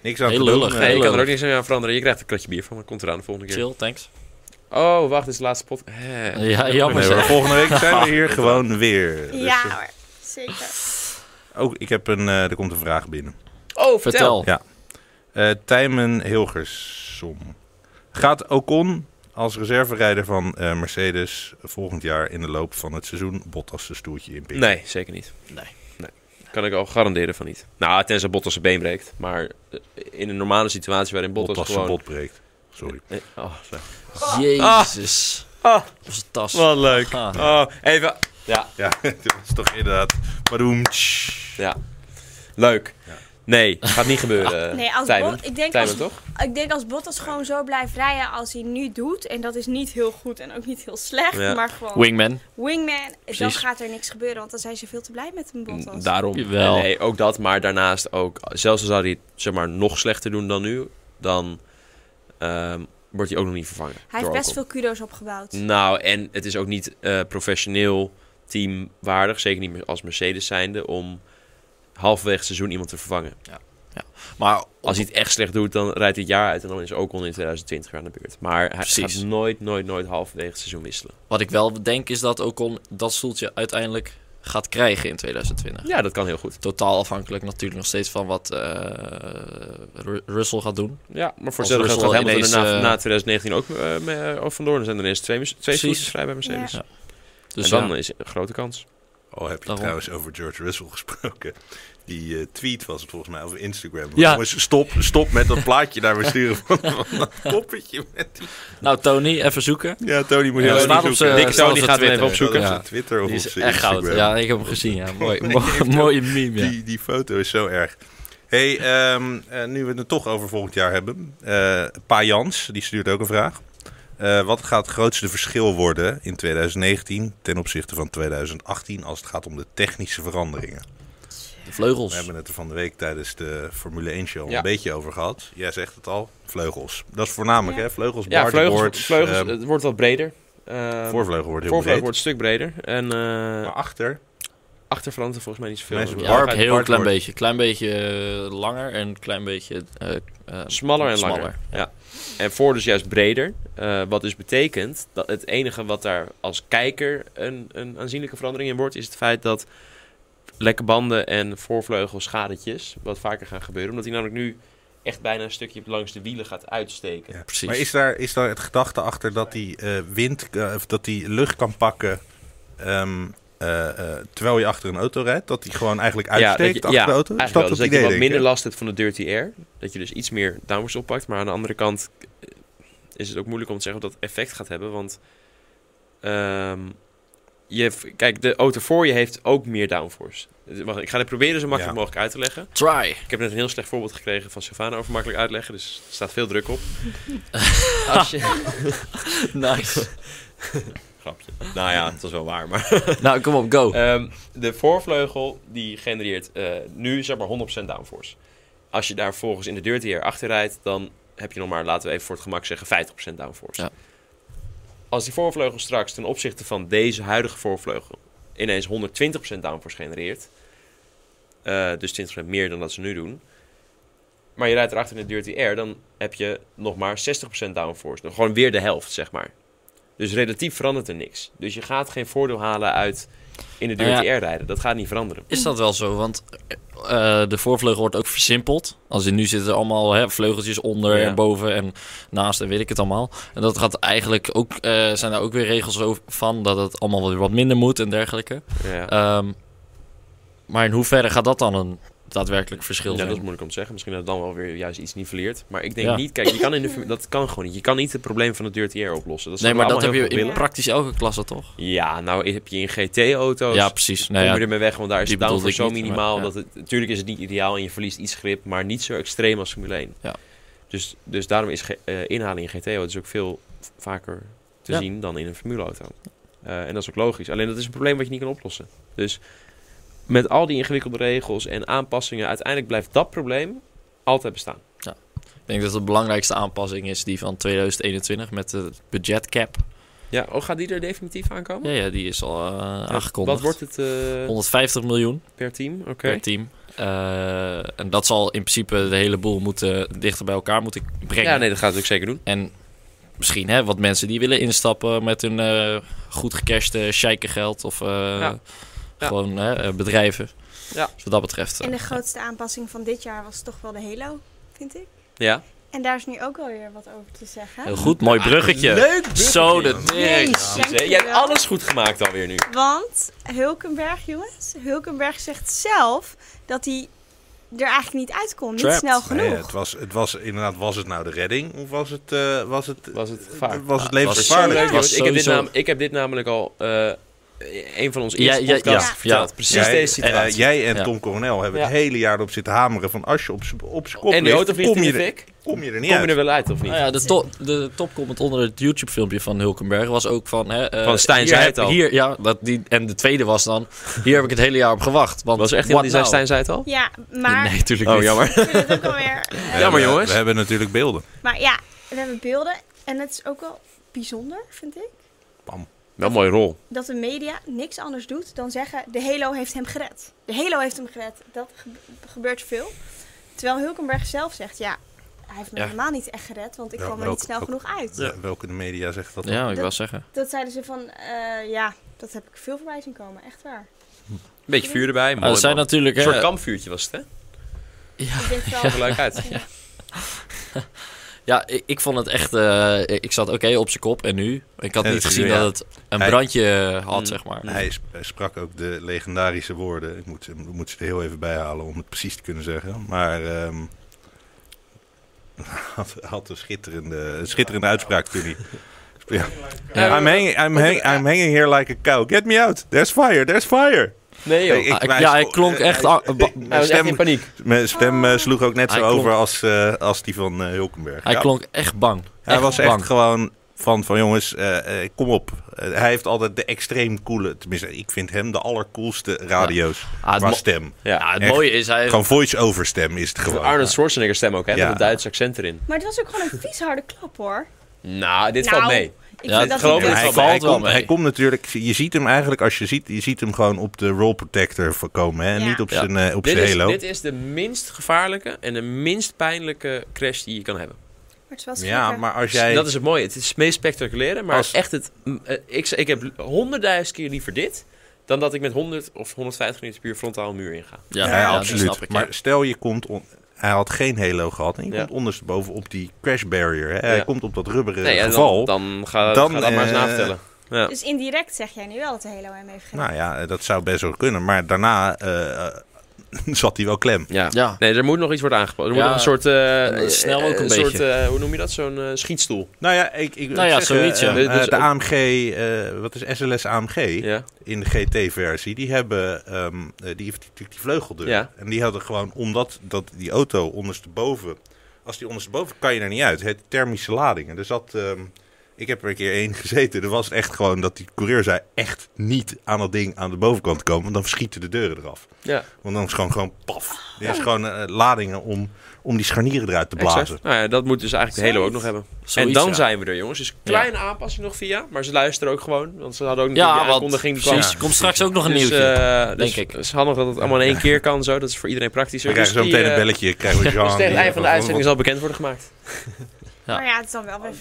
Speaker 2: Niks aan
Speaker 3: Heel
Speaker 2: te doen,
Speaker 3: lullig,
Speaker 2: eh,
Speaker 1: Nee, ik kan er ook
Speaker 3: leuk.
Speaker 1: niks aan veranderen. Je krijgt een kratje bier van me. Komt eraan de volgende keer.
Speaker 3: Chill, thanks.
Speaker 1: Oh, wacht, dit is de laatste pot. Hè.
Speaker 3: Ja, jammer
Speaker 2: nee,
Speaker 3: zeg.
Speaker 2: maar volgende week zijn we hier gewoon weer. Dus,
Speaker 4: Ja
Speaker 2: eh,
Speaker 4: hoor, zeker.
Speaker 2: ook, ik heb een, eh, er komt een vraag binnen.
Speaker 1: Oh, vertel.
Speaker 3: Vertel.
Speaker 2: Ja. Eh Tijmen Hilgersom. Gaat Ocon als reserverijder van eh, Mercedes volgend jaar in de loop van het seizoen Bottas zijn stoeltje inpikken?
Speaker 1: Nee, zeker niet.
Speaker 3: Nee.
Speaker 1: nee. Kan ik al garanderen van niet. Nou, tenzij Bottas zijn been breekt. Maar eh, in een normale situatie waarin Bottas,
Speaker 2: Bottas zijn
Speaker 1: gewoon...
Speaker 2: bot breekt. Sorry.
Speaker 1: Eh, Oh, zo.
Speaker 3: Jezus.
Speaker 1: Ah,
Speaker 3: Onze tas.
Speaker 1: wat leuk.
Speaker 3: Ah.
Speaker 1: Oh, even... Ja,
Speaker 2: Ja, dat is toch inderdaad. Badoem. tsch.
Speaker 1: ja. Leuk.
Speaker 2: Ja.
Speaker 1: Nee, gaat niet gebeuren.
Speaker 4: Nee, als
Speaker 1: Tijmen.
Speaker 4: Bot- ik denk
Speaker 1: Tijmen,
Speaker 4: als-
Speaker 1: toch?
Speaker 4: Ik denk als Bottas gewoon zo blijft rijden als hij nu doet, en dat is niet heel goed en ook niet heel slecht,
Speaker 1: Ja.
Speaker 4: maar gewoon
Speaker 3: Wingman.
Speaker 4: wingman, dan
Speaker 3: Precies.
Speaker 4: gaat er niks gebeuren, want dan zijn ze veel te blij met een Bottas.
Speaker 1: Mm, Daarom.
Speaker 3: Jawel.
Speaker 1: Nee, Nee, ook dat. Maar daarnaast ook, zelfs al zou hij het, zeg maar, nog slechter doen dan nu, dan ehm, wordt hij ook nog niet vervangen.
Speaker 4: hij
Speaker 1: door
Speaker 4: heeft best
Speaker 1: Ocon.
Speaker 4: veel kudo's opgebouwd.
Speaker 1: Nou, en het is ook niet eh, professioneel teamwaardig, zeker niet meer als Mercedes zijnde, om halverwege het seizoen iemand te vervangen.
Speaker 3: Maar
Speaker 1: Als hij het echt slecht doet, dan rijdt hij het jaar uit en dan is Ocon in 2020 weer aan de beurt. Maar hij
Speaker 3: Precies.
Speaker 1: gaat nooit, nooit, nooit halverwege het seizoen wisselen.
Speaker 3: wat ik wel denk is dat Ocon dat stoeltje uiteindelijk gaat krijgen in 2020.
Speaker 1: Ja, dat kan heel goed.
Speaker 3: Totaal afhankelijk natuurlijk nog steeds van wat eh, Ru- Russell gaat doen.
Speaker 1: Ja, maar voor
Speaker 3: Als
Speaker 1: hetzelfde geld gaat
Speaker 3: Russell
Speaker 1: Hamilton er na,
Speaker 3: ineens, eh,
Speaker 1: na 2019 ook eh, me- ook vandoor. Dan zijn er ineens twee, twee stoeltjes vrij bij Mercedes.
Speaker 3: Ja. Dus
Speaker 1: Dus
Speaker 3: ja,
Speaker 1: dan is het een grote kans.
Speaker 2: Oh, heb je
Speaker 3: Daarom.
Speaker 2: trouwens over George Russell gesproken? Die eh, tweet was het volgens mij over Instagram.
Speaker 3: Ja.
Speaker 2: Jongens, stop, stop met dat plaatje daar weer sturen van, van dat koppetje. Met die...
Speaker 3: Nou, Tony, even zoeken.
Speaker 2: Ja, Tony moet
Speaker 3: Ja,
Speaker 2: je
Speaker 3: dat staat
Speaker 2: even zoeken.
Speaker 3: op zijn-
Speaker 1: Dikke
Speaker 3: staat
Speaker 1: Tony
Speaker 3: op
Speaker 1: gaat hem
Speaker 3: Twitter.
Speaker 1: even opzoeken.
Speaker 2: Op
Speaker 3: Ja.
Speaker 2: zijn Twitter of
Speaker 3: Die
Speaker 2: op
Speaker 3: is
Speaker 2: zijn
Speaker 3: echt goud.
Speaker 2: Instagram.
Speaker 3: Ja, ik heb hem gezien. Ja. Mooi,
Speaker 2: Nee,
Speaker 3: mooi-
Speaker 2: heeft
Speaker 3: mooie meme. Ja.
Speaker 2: Die, die foto is zo erg. hey, ehm, eh, nu we het er toch over volgend jaar hebben. eh pa Jans, die stuurt ook een vraag. Eh, wat gaat het grootste verschil worden in 2019 ten opzichte van 2018 als het gaat om de technische veranderingen?
Speaker 3: De
Speaker 2: We
Speaker 3: vleugels.
Speaker 2: hebben het er van de week tijdens de Formule 1 show
Speaker 1: Ja.
Speaker 2: een beetje over gehad. Jij zegt het al, vleugels. Dat is voornamelijk
Speaker 4: Ja.
Speaker 2: hè, vleugels,
Speaker 1: Ja, vleugels,
Speaker 2: bardenboards,
Speaker 1: vleugels
Speaker 2: ehm,
Speaker 1: het wordt wat breder. Uh,
Speaker 2: voorvleugel wordt heel breed.
Speaker 1: wordt een stuk breder. En eh
Speaker 2: Maar achter,
Speaker 1: achter verandert er volgens mij niet
Speaker 2: Mensen
Speaker 1: zoveel.
Speaker 3: Ja,
Speaker 2: Barb-
Speaker 3: ook een heel klein
Speaker 2: Barbord.
Speaker 3: beetje. Klein beetje eh, langer en een klein beetje eh, eh,
Speaker 1: Smaller en langer. Ja. En voor dus juist breder. Eh, wat dus betekent dat het enige wat daar als kijker een, een aanzienlijke verandering in wordt, is het feit dat lekke banden en voorvleugelschadertjes wat vaker gaan gebeuren. Omdat hij namelijk nu echt bijna een stukje langs de wielen gaat uitsteken.
Speaker 2: Ja,
Speaker 3: Precies.
Speaker 2: Maar is daar, is daar het gedachte achter dat die eh, wind, eh, of dat die lucht kan pakken ehm, eh, eh, terwijl je achter een auto rijdt? Dat die gewoon eigenlijk
Speaker 1: Ja,
Speaker 2: uitsteekt
Speaker 1: dat je-
Speaker 2: achter
Speaker 1: ja,
Speaker 2: de auto? Is
Speaker 1: eigenlijk wel.
Speaker 2: dat
Speaker 1: Dus dat
Speaker 2: het idee?
Speaker 1: je wat
Speaker 2: denk
Speaker 1: minder
Speaker 2: je?
Speaker 1: last hebt van de dirty air. Dat je dus iets meer downwards oppakt. Maar aan de andere kant eh, is het ook moeilijk om te zeggen of dat effect gaat hebben. Want ehm, je, heeft- kijk, de auto voor je heeft ook meer downforce. Eh, Wacht, ik ga dit proberen zo makkelijk
Speaker 2: Ja.
Speaker 1: mogelijk uit te leggen.
Speaker 3: Try.
Speaker 1: Ik heb net een heel slecht voorbeeld gekregen van Sylvana over makkelijk uitleggen. Dus er staat veel druk op. Als je...
Speaker 3: Nice.
Speaker 1: Grapje. Nou ja, het was wel waar. Maar
Speaker 3: nou, kom op, go.
Speaker 1: Ehm, de voorvleugel die genereert eh, nu zeg maar 100% downforce. Als je daar volgens in de dirty air achter rijdt, dan heb je nog maar, laten we even voor het gemak zeggen, 50% downforce.
Speaker 3: Ja.
Speaker 1: Als die voorvleugel straks ten opzichte van deze huidige voorvleugel ineens 120% downforce genereert, eh, dus 20% meer dan dat ze nu doen, maar je rijdt erachter in de dirty air, dan heb je nog maar 60% downforce. Dan Gewoon weer de helft, zeg maar. Dus relatief verandert er niks. Dus je gaat geen voordeel halen uit in de
Speaker 3: Nou
Speaker 1: dirty
Speaker 3: ja.
Speaker 1: air rijden. Dat gaat niet veranderen.
Speaker 3: Is dat wel zo? Want eh, de voorvleugel wordt ook versimpeld. Als in nu zitten er allemaal hè, vleugeltjes onder
Speaker 1: Ja.
Speaker 3: en boven en naast en weet ik het allemaal. En dat gaat eigenlijk ook, eh, zijn daar ook weer regels over van dat het allemaal weer wat minder moet en dergelijke.
Speaker 1: Ja.
Speaker 3: Ehm, maar in hoeverre gaat dat dan een daadwerkelijk verschil
Speaker 1: Ja,
Speaker 3: zijn?
Speaker 1: dat is moeilijk om te zeggen. Misschien dat het dan wel weer juist iets niveleert. Maar ik denk
Speaker 3: Ja.
Speaker 1: niet... Kijk, je kan in de, fam- dat kan gewoon niet. Je kan niet het probleem van de dirty air oplossen. Dat
Speaker 3: nee, maar dat heb je
Speaker 1: in...
Speaker 3: in praktisch elke klasse toch?
Speaker 1: Ja, nou heb je in GT-auto's...
Speaker 3: Ja,
Speaker 1: Ja,
Speaker 3: precies.
Speaker 1: kom
Speaker 3: Nou
Speaker 1: je
Speaker 3: ja,
Speaker 1: ermee weg, want daar is
Speaker 3: die
Speaker 1: het downforce zo
Speaker 3: bedoelde ik niet,
Speaker 1: minimaal.
Speaker 3: maar, ja.
Speaker 1: dat het, natuurlijk is het niet ideaal en je verliest iets grip, maar niet zo extreem als Formule 1.
Speaker 3: Ja.
Speaker 1: Dus, dus daarom is ge- eh, inhaling in GT-auto's ook veel v- vaker te
Speaker 3: Ja.
Speaker 1: zien dan in een Formule-auto. Eh, en dat is ook logisch. Alleen dat is een probleem wat je niet kan oplossen. Dus met al die ingewikkelde regels en aanpassingen, uiteindelijk blijft dat probleem altijd bestaan.
Speaker 3: Ik denk dat het de belangrijkste aanpassing is die van 2021 met de budgetcap.
Speaker 1: Ja, oh, gaat die er definitief aankomen?
Speaker 3: Ja, ja, die is al eh,
Speaker 1: Wat
Speaker 3: aangekondigd.
Speaker 1: wordt het eh,
Speaker 3: 150 miljoen
Speaker 1: per team? Oké.
Speaker 3: per team. Eh, en dat zal in principe de hele boel moeten, dichter bij elkaar moeten brengen.
Speaker 1: Ja, nee, dat gaat het ook zeker doen.
Speaker 3: En misschien hè, wat mensen die willen instappen met hun eh, goed gecashte sheiken geld of eh,
Speaker 1: Ja. Ja.
Speaker 3: gewoon hè, eh, bedrijven.
Speaker 1: Ja.
Speaker 3: Dus wat dat betreft. eh,
Speaker 4: En de grootste aanpassing van dit jaar was toch wel de Halo, vind ik.
Speaker 1: Ja.
Speaker 4: En daar is nu ook wel weer wat over te zeggen.
Speaker 3: Heel goed, mooi bruggetje.
Speaker 1: Leuk bruggetje.
Speaker 3: Zo, de
Speaker 4: Jezus.
Speaker 1: Precies, hè?
Speaker 4: Dankjewel.
Speaker 1: Jij hebt alles goed gemaakt alweer nu.
Speaker 4: Want Hulkenberg, jongens, Hulkenberg zegt zelf dat hij er eigenlijk niet uitkomt. Niet
Speaker 3: Trapped.
Speaker 4: snel
Speaker 2: Nee, het,
Speaker 4: genoeg.
Speaker 2: was, het was inderdaad, was het nou de redding of was het, eh, was het, eh,
Speaker 1: Was het gevaar?
Speaker 2: was het
Speaker 3: Ja, het was
Speaker 2: levensgevaarlijk?
Speaker 1: Leuk,
Speaker 3: Het was
Speaker 1: jongens. ik, heb dit
Speaker 3: sowieso-
Speaker 1: nam- ik heb dit namelijk al eh, een van ons eerste
Speaker 3: Ja, ja,
Speaker 1: podcasts
Speaker 4: ja,
Speaker 1: verteld.
Speaker 3: ja.
Speaker 1: Precies
Speaker 2: Jij-
Speaker 1: deze
Speaker 2: eh,
Speaker 1: situatie.
Speaker 2: jij en
Speaker 3: Ja.
Speaker 2: Tom Coronel hebben
Speaker 1: Ja.
Speaker 2: het hele jaar op zitten hameren van als je op z'n- op z'n kop
Speaker 1: en de
Speaker 2: ligt,
Speaker 1: auto vliegt
Speaker 2: kom
Speaker 1: in
Speaker 2: je,
Speaker 1: de
Speaker 2: er,
Speaker 1: fik.
Speaker 2: kom je er
Speaker 1: Kom
Speaker 2: niet
Speaker 1: je
Speaker 2: uit.
Speaker 1: er wel uit of niet?
Speaker 3: Nou ja, de, to- de topcomment onder het YouTube-filmpje van Hulkenberg was ook van... Hè, eh,
Speaker 1: Van Stijn
Speaker 3: hier
Speaker 1: zei
Speaker 3: heb-
Speaker 1: het al.
Speaker 3: Hier, ja, dat die, en de tweede was dan... Hier heb ik het hele jaar op gewacht. Want
Speaker 1: was echt iemand
Speaker 3: what
Speaker 1: die zei,
Speaker 3: now?
Speaker 1: Stijn zei het al?
Speaker 4: Ja, maar
Speaker 3: Nee, natuurlijk
Speaker 1: nou? Oh, jammer.
Speaker 3: niet.
Speaker 4: ik vind het ook alweer... eh,
Speaker 1: Jammer,
Speaker 2: we-
Speaker 1: jongens.
Speaker 2: We hebben natuurlijk beelden.
Speaker 4: maar ja, we hebben beelden. En het is ook wel bijzonder, vind ik.
Speaker 1: Wel een mooie rol.
Speaker 4: Dat de media niks anders doet dan zeggen... De Halo heeft hem gered. De Halo heeft hem gered. Dat gebe- gebeurt veel. Terwijl Hulkenberg zelf zegt... Ja, hij heeft me
Speaker 3: Ja.
Speaker 4: helemaal niet echt gered. Want ik
Speaker 2: Ja,
Speaker 4: kwam er
Speaker 2: ook-
Speaker 4: niet snel
Speaker 2: ook-
Speaker 4: genoeg uit.
Speaker 2: Eh, Welke de media zegt dat?
Speaker 3: Ja, ik
Speaker 4: Dat-
Speaker 3: wou zeggen.
Speaker 4: Dat zeiden ze van... eh, ja, dat heb ik veel voorbij zien komen. Echt waar.
Speaker 1: Beetje vuur erbij. Mooi,
Speaker 3: Maar dat Nou, zijn
Speaker 1: man.
Speaker 3: natuurlijk... eh,
Speaker 1: Een
Speaker 3: Hè,
Speaker 1: soort kampvuurtje was het, hè?
Speaker 3: ja,
Speaker 4: Ik denk wel...
Speaker 1: Zag er leuk uit.
Speaker 3: ja ik, ik vond het echt... eh, ik zat oké op zijn kop en nu. Ik had
Speaker 2: Ja,
Speaker 3: niet
Speaker 2: dat is
Speaker 3: gezien
Speaker 2: nu, ja.
Speaker 3: dat het een
Speaker 2: Hij-
Speaker 3: brandje had,
Speaker 1: Mm.
Speaker 3: zeg maar.
Speaker 1: Mm.
Speaker 2: Hij sp- sprak ook de legendarische woorden. Ik moet, ze- ik moet ze er heel even bijhalen om het precies te kunnen zeggen. Maar ehm had, had een schitterende, een schitterende uitspraak toen hij. Ja.
Speaker 1: Ja.
Speaker 2: I'm, hanging, I'm, hang- I'm hanging here like a cow. Get me out. There's fire. There's fire.
Speaker 1: Nee, joh.
Speaker 2: Hey, ik-
Speaker 3: Ah, ik-
Speaker 2: wij-
Speaker 3: ja, hij klonk
Speaker 2: eh,
Speaker 3: echt...
Speaker 2: hij-
Speaker 3: ah, ba-
Speaker 1: Hij was echt
Speaker 2: stem-
Speaker 1: in paniek.
Speaker 2: Mijn stem eh, sloeg ook net
Speaker 3: Hij
Speaker 2: zo
Speaker 3: klonk-
Speaker 2: over als, eh, als die van eh, Hulkenberg.
Speaker 3: hij
Speaker 2: Ja.
Speaker 3: klonk echt bang.
Speaker 2: Hij
Speaker 3: Echt
Speaker 2: was echt
Speaker 3: bang.
Speaker 2: gewoon van, van jongens, eh, eh, kom op. Eh, hij heeft altijd de extreem coole, tenminste ik vind hem de allercoolste radio's
Speaker 3: Ah, het
Speaker 2: qua
Speaker 3: mo-
Speaker 2: stem.
Speaker 3: Ja, het
Speaker 2: Echt.
Speaker 3: mooie is... Hij,
Speaker 2: Gewoon voice-over stem is het gewoon.
Speaker 1: Arnold Schwarzenegger stem ook, hè?
Speaker 2: Ja.
Speaker 1: Met een Duits accent erin.
Speaker 4: Maar het was ook gewoon een vies harde klap, hoor.
Speaker 1: Nou, dit
Speaker 4: Nou,
Speaker 1: valt mee.
Speaker 4: Ik
Speaker 3: Ja,
Speaker 4: vind
Speaker 1: dat
Speaker 4: dat
Speaker 1: geloof
Speaker 4: niet
Speaker 2: En
Speaker 1: ik
Speaker 4: best.
Speaker 2: hij,
Speaker 1: valt
Speaker 2: hij
Speaker 3: wel
Speaker 2: komt,
Speaker 3: mee.
Speaker 2: hij komt natuurlijk, je ziet hem eigenlijk als je ziet, je ziet hem gewoon op de roll protector voorkomen. Hè? en
Speaker 4: Ja.
Speaker 2: Niet op
Speaker 3: Ja.
Speaker 2: zijn, eh, op
Speaker 1: Dit
Speaker 2: zijn
Speaker 1: is,
Speaker 2: halo.
Speaker 1: dit is de minst gevaarlijke en de minst pijnlijke crash die je kan hebben.
Speaker 4: Maar het was
Speaker 2: Ja,
Speaker 4: gekker.
Speaker 2: maar als jij...
Speaker 1: Dat is het mooie. Het is het meest spectaculaire, maar
Speaker 2: Als-
Speaker 1: echt het... m, eh, Ik, ik heb honderdduizend keer liever dit... dan dat ik met 100 of 150 minuten puur frontaal een muur inga.
Speaker 3: Ja,
Speaker 2: ja,
Speaker 3: ja, die
Speaker 2: absoluut.
Speaker 3: snap ik, ja.
Speaker 2: maar stel je komt... on- hij had geen halo gehad en je
Speaker 1: Ja.
Speaker 2: komt ondersteboven op die crash barrier. Hè? Hij
Speaker 1: Ja.
Speaker 2: komt op dat rubberen
Speaker 1: Nee, en
Speaker 2: Eh, geval.
Speaker 1: dan, dan ga,
Speaker 2: Dan,
Speaker 1: ga dat maar eens
Speaker 2: eh,
Speaker 1: navertellen. Ja.
Speaker 4: Dus indirect zeg jij nu wel dat de Halo hem heeft gedaan.
Speaker 2: Nou ja, eh, dat zou best wel kunnen. Maar daarna eh, eh, zat hij wel klem.
Speaker 1: Ja.
Speaker 3: Ja.
Speaker 1: Nee, er moet nog iets worden aangepast. Er moet
Speaker 3: Ja,
Speaker 1: nog een soort... eh,
Speaker 3: eh, snel ook een
Speaker 1: soort,
Speaker 3: beetje.
Speaker 1: eh, hoe noem je dat? Zo'n eh, schietstoel.
Speaker 2: Nou ja, ik, ik
Speaker 3: Nou ja,
Speaker 2: zeggen,
Speaker 3: zoiets, ja.
Speaker 2: eh,
Speaker 1: Dit
Speaker 2: eh,
Speaker 1: is
Speaker 2: de
Speaker 1: ook-
Speaker 2: AMG, eh, wat is SLS AMG
Speaker 1: Ja.
Speaker 2: in de GT-versie, die hebben ehm, eh, die heeft natuurlijk die, vleugeldeur.
Speaker 1: Ja.
Speaker 2: En die hadden gewoon, omdat dat die auto ondersteboven, als die ondersteboven kan je er niet uit. Het thermische ladingen. Dus dat, ehm, ik heb er een keer één gezeten. Er was echt gewoon dat die coureur zei echt niet aan dat ding aan de bovenkant komen, want dan verschieten de deuren eraf.
Speaker 1: Ja,
Speaker 2: Want dan is het gewoon, gewoon paf. Er is gewoon eh, ladingen om, om die scharnieren eruit te blazen.
Speaker 1: exact. Nou ja, dat moet dus eigenlijk de hele ook nog hebben.
Speaker 3: Zoiets,
Speaker 1: en dan
Speaker 3: ja.
Speaker 1: zijn we er, jongens. Dus kleine aanpassing nog via. Maar ze luisteren ook gewoon. Want ze hadden ook natuurlijk
Speaker 3: Ja,
Speaker 1: die
Speaker 3: want
Speaker 1: aankondiging. die kwam.
Speaker 3: precies.
Speaker 2: Ja.
Speaker 3: Komt straks ook nog een
Speaker 1: Dus,
Speaker 3: nieuwtje.
Speaker 1: eh, dus
Speaker 3: denk ik.
Speaker 1: Het is handig dat het allemaal in één keer kan. Zo. Dat is voor iedereen praktischer.
Speaker 2: We krijgen zo
Speaker 1: Dus
Speaker 2: meteen
Speaker 1: die,
Speaker 2: een
Speaker 1: eh,
Speaker 2: belletje. Krijgen we Jean,
Speaker 1: Dus tegen het
Speaker 2: die-
Speaker 1: einde van de
Speaker 2: wat-
Speaker 1: uitzending zal bekend worden gemaakt.
Speaker 3: Ja.
Speaker 4: Maar ja, het is dan wel weer...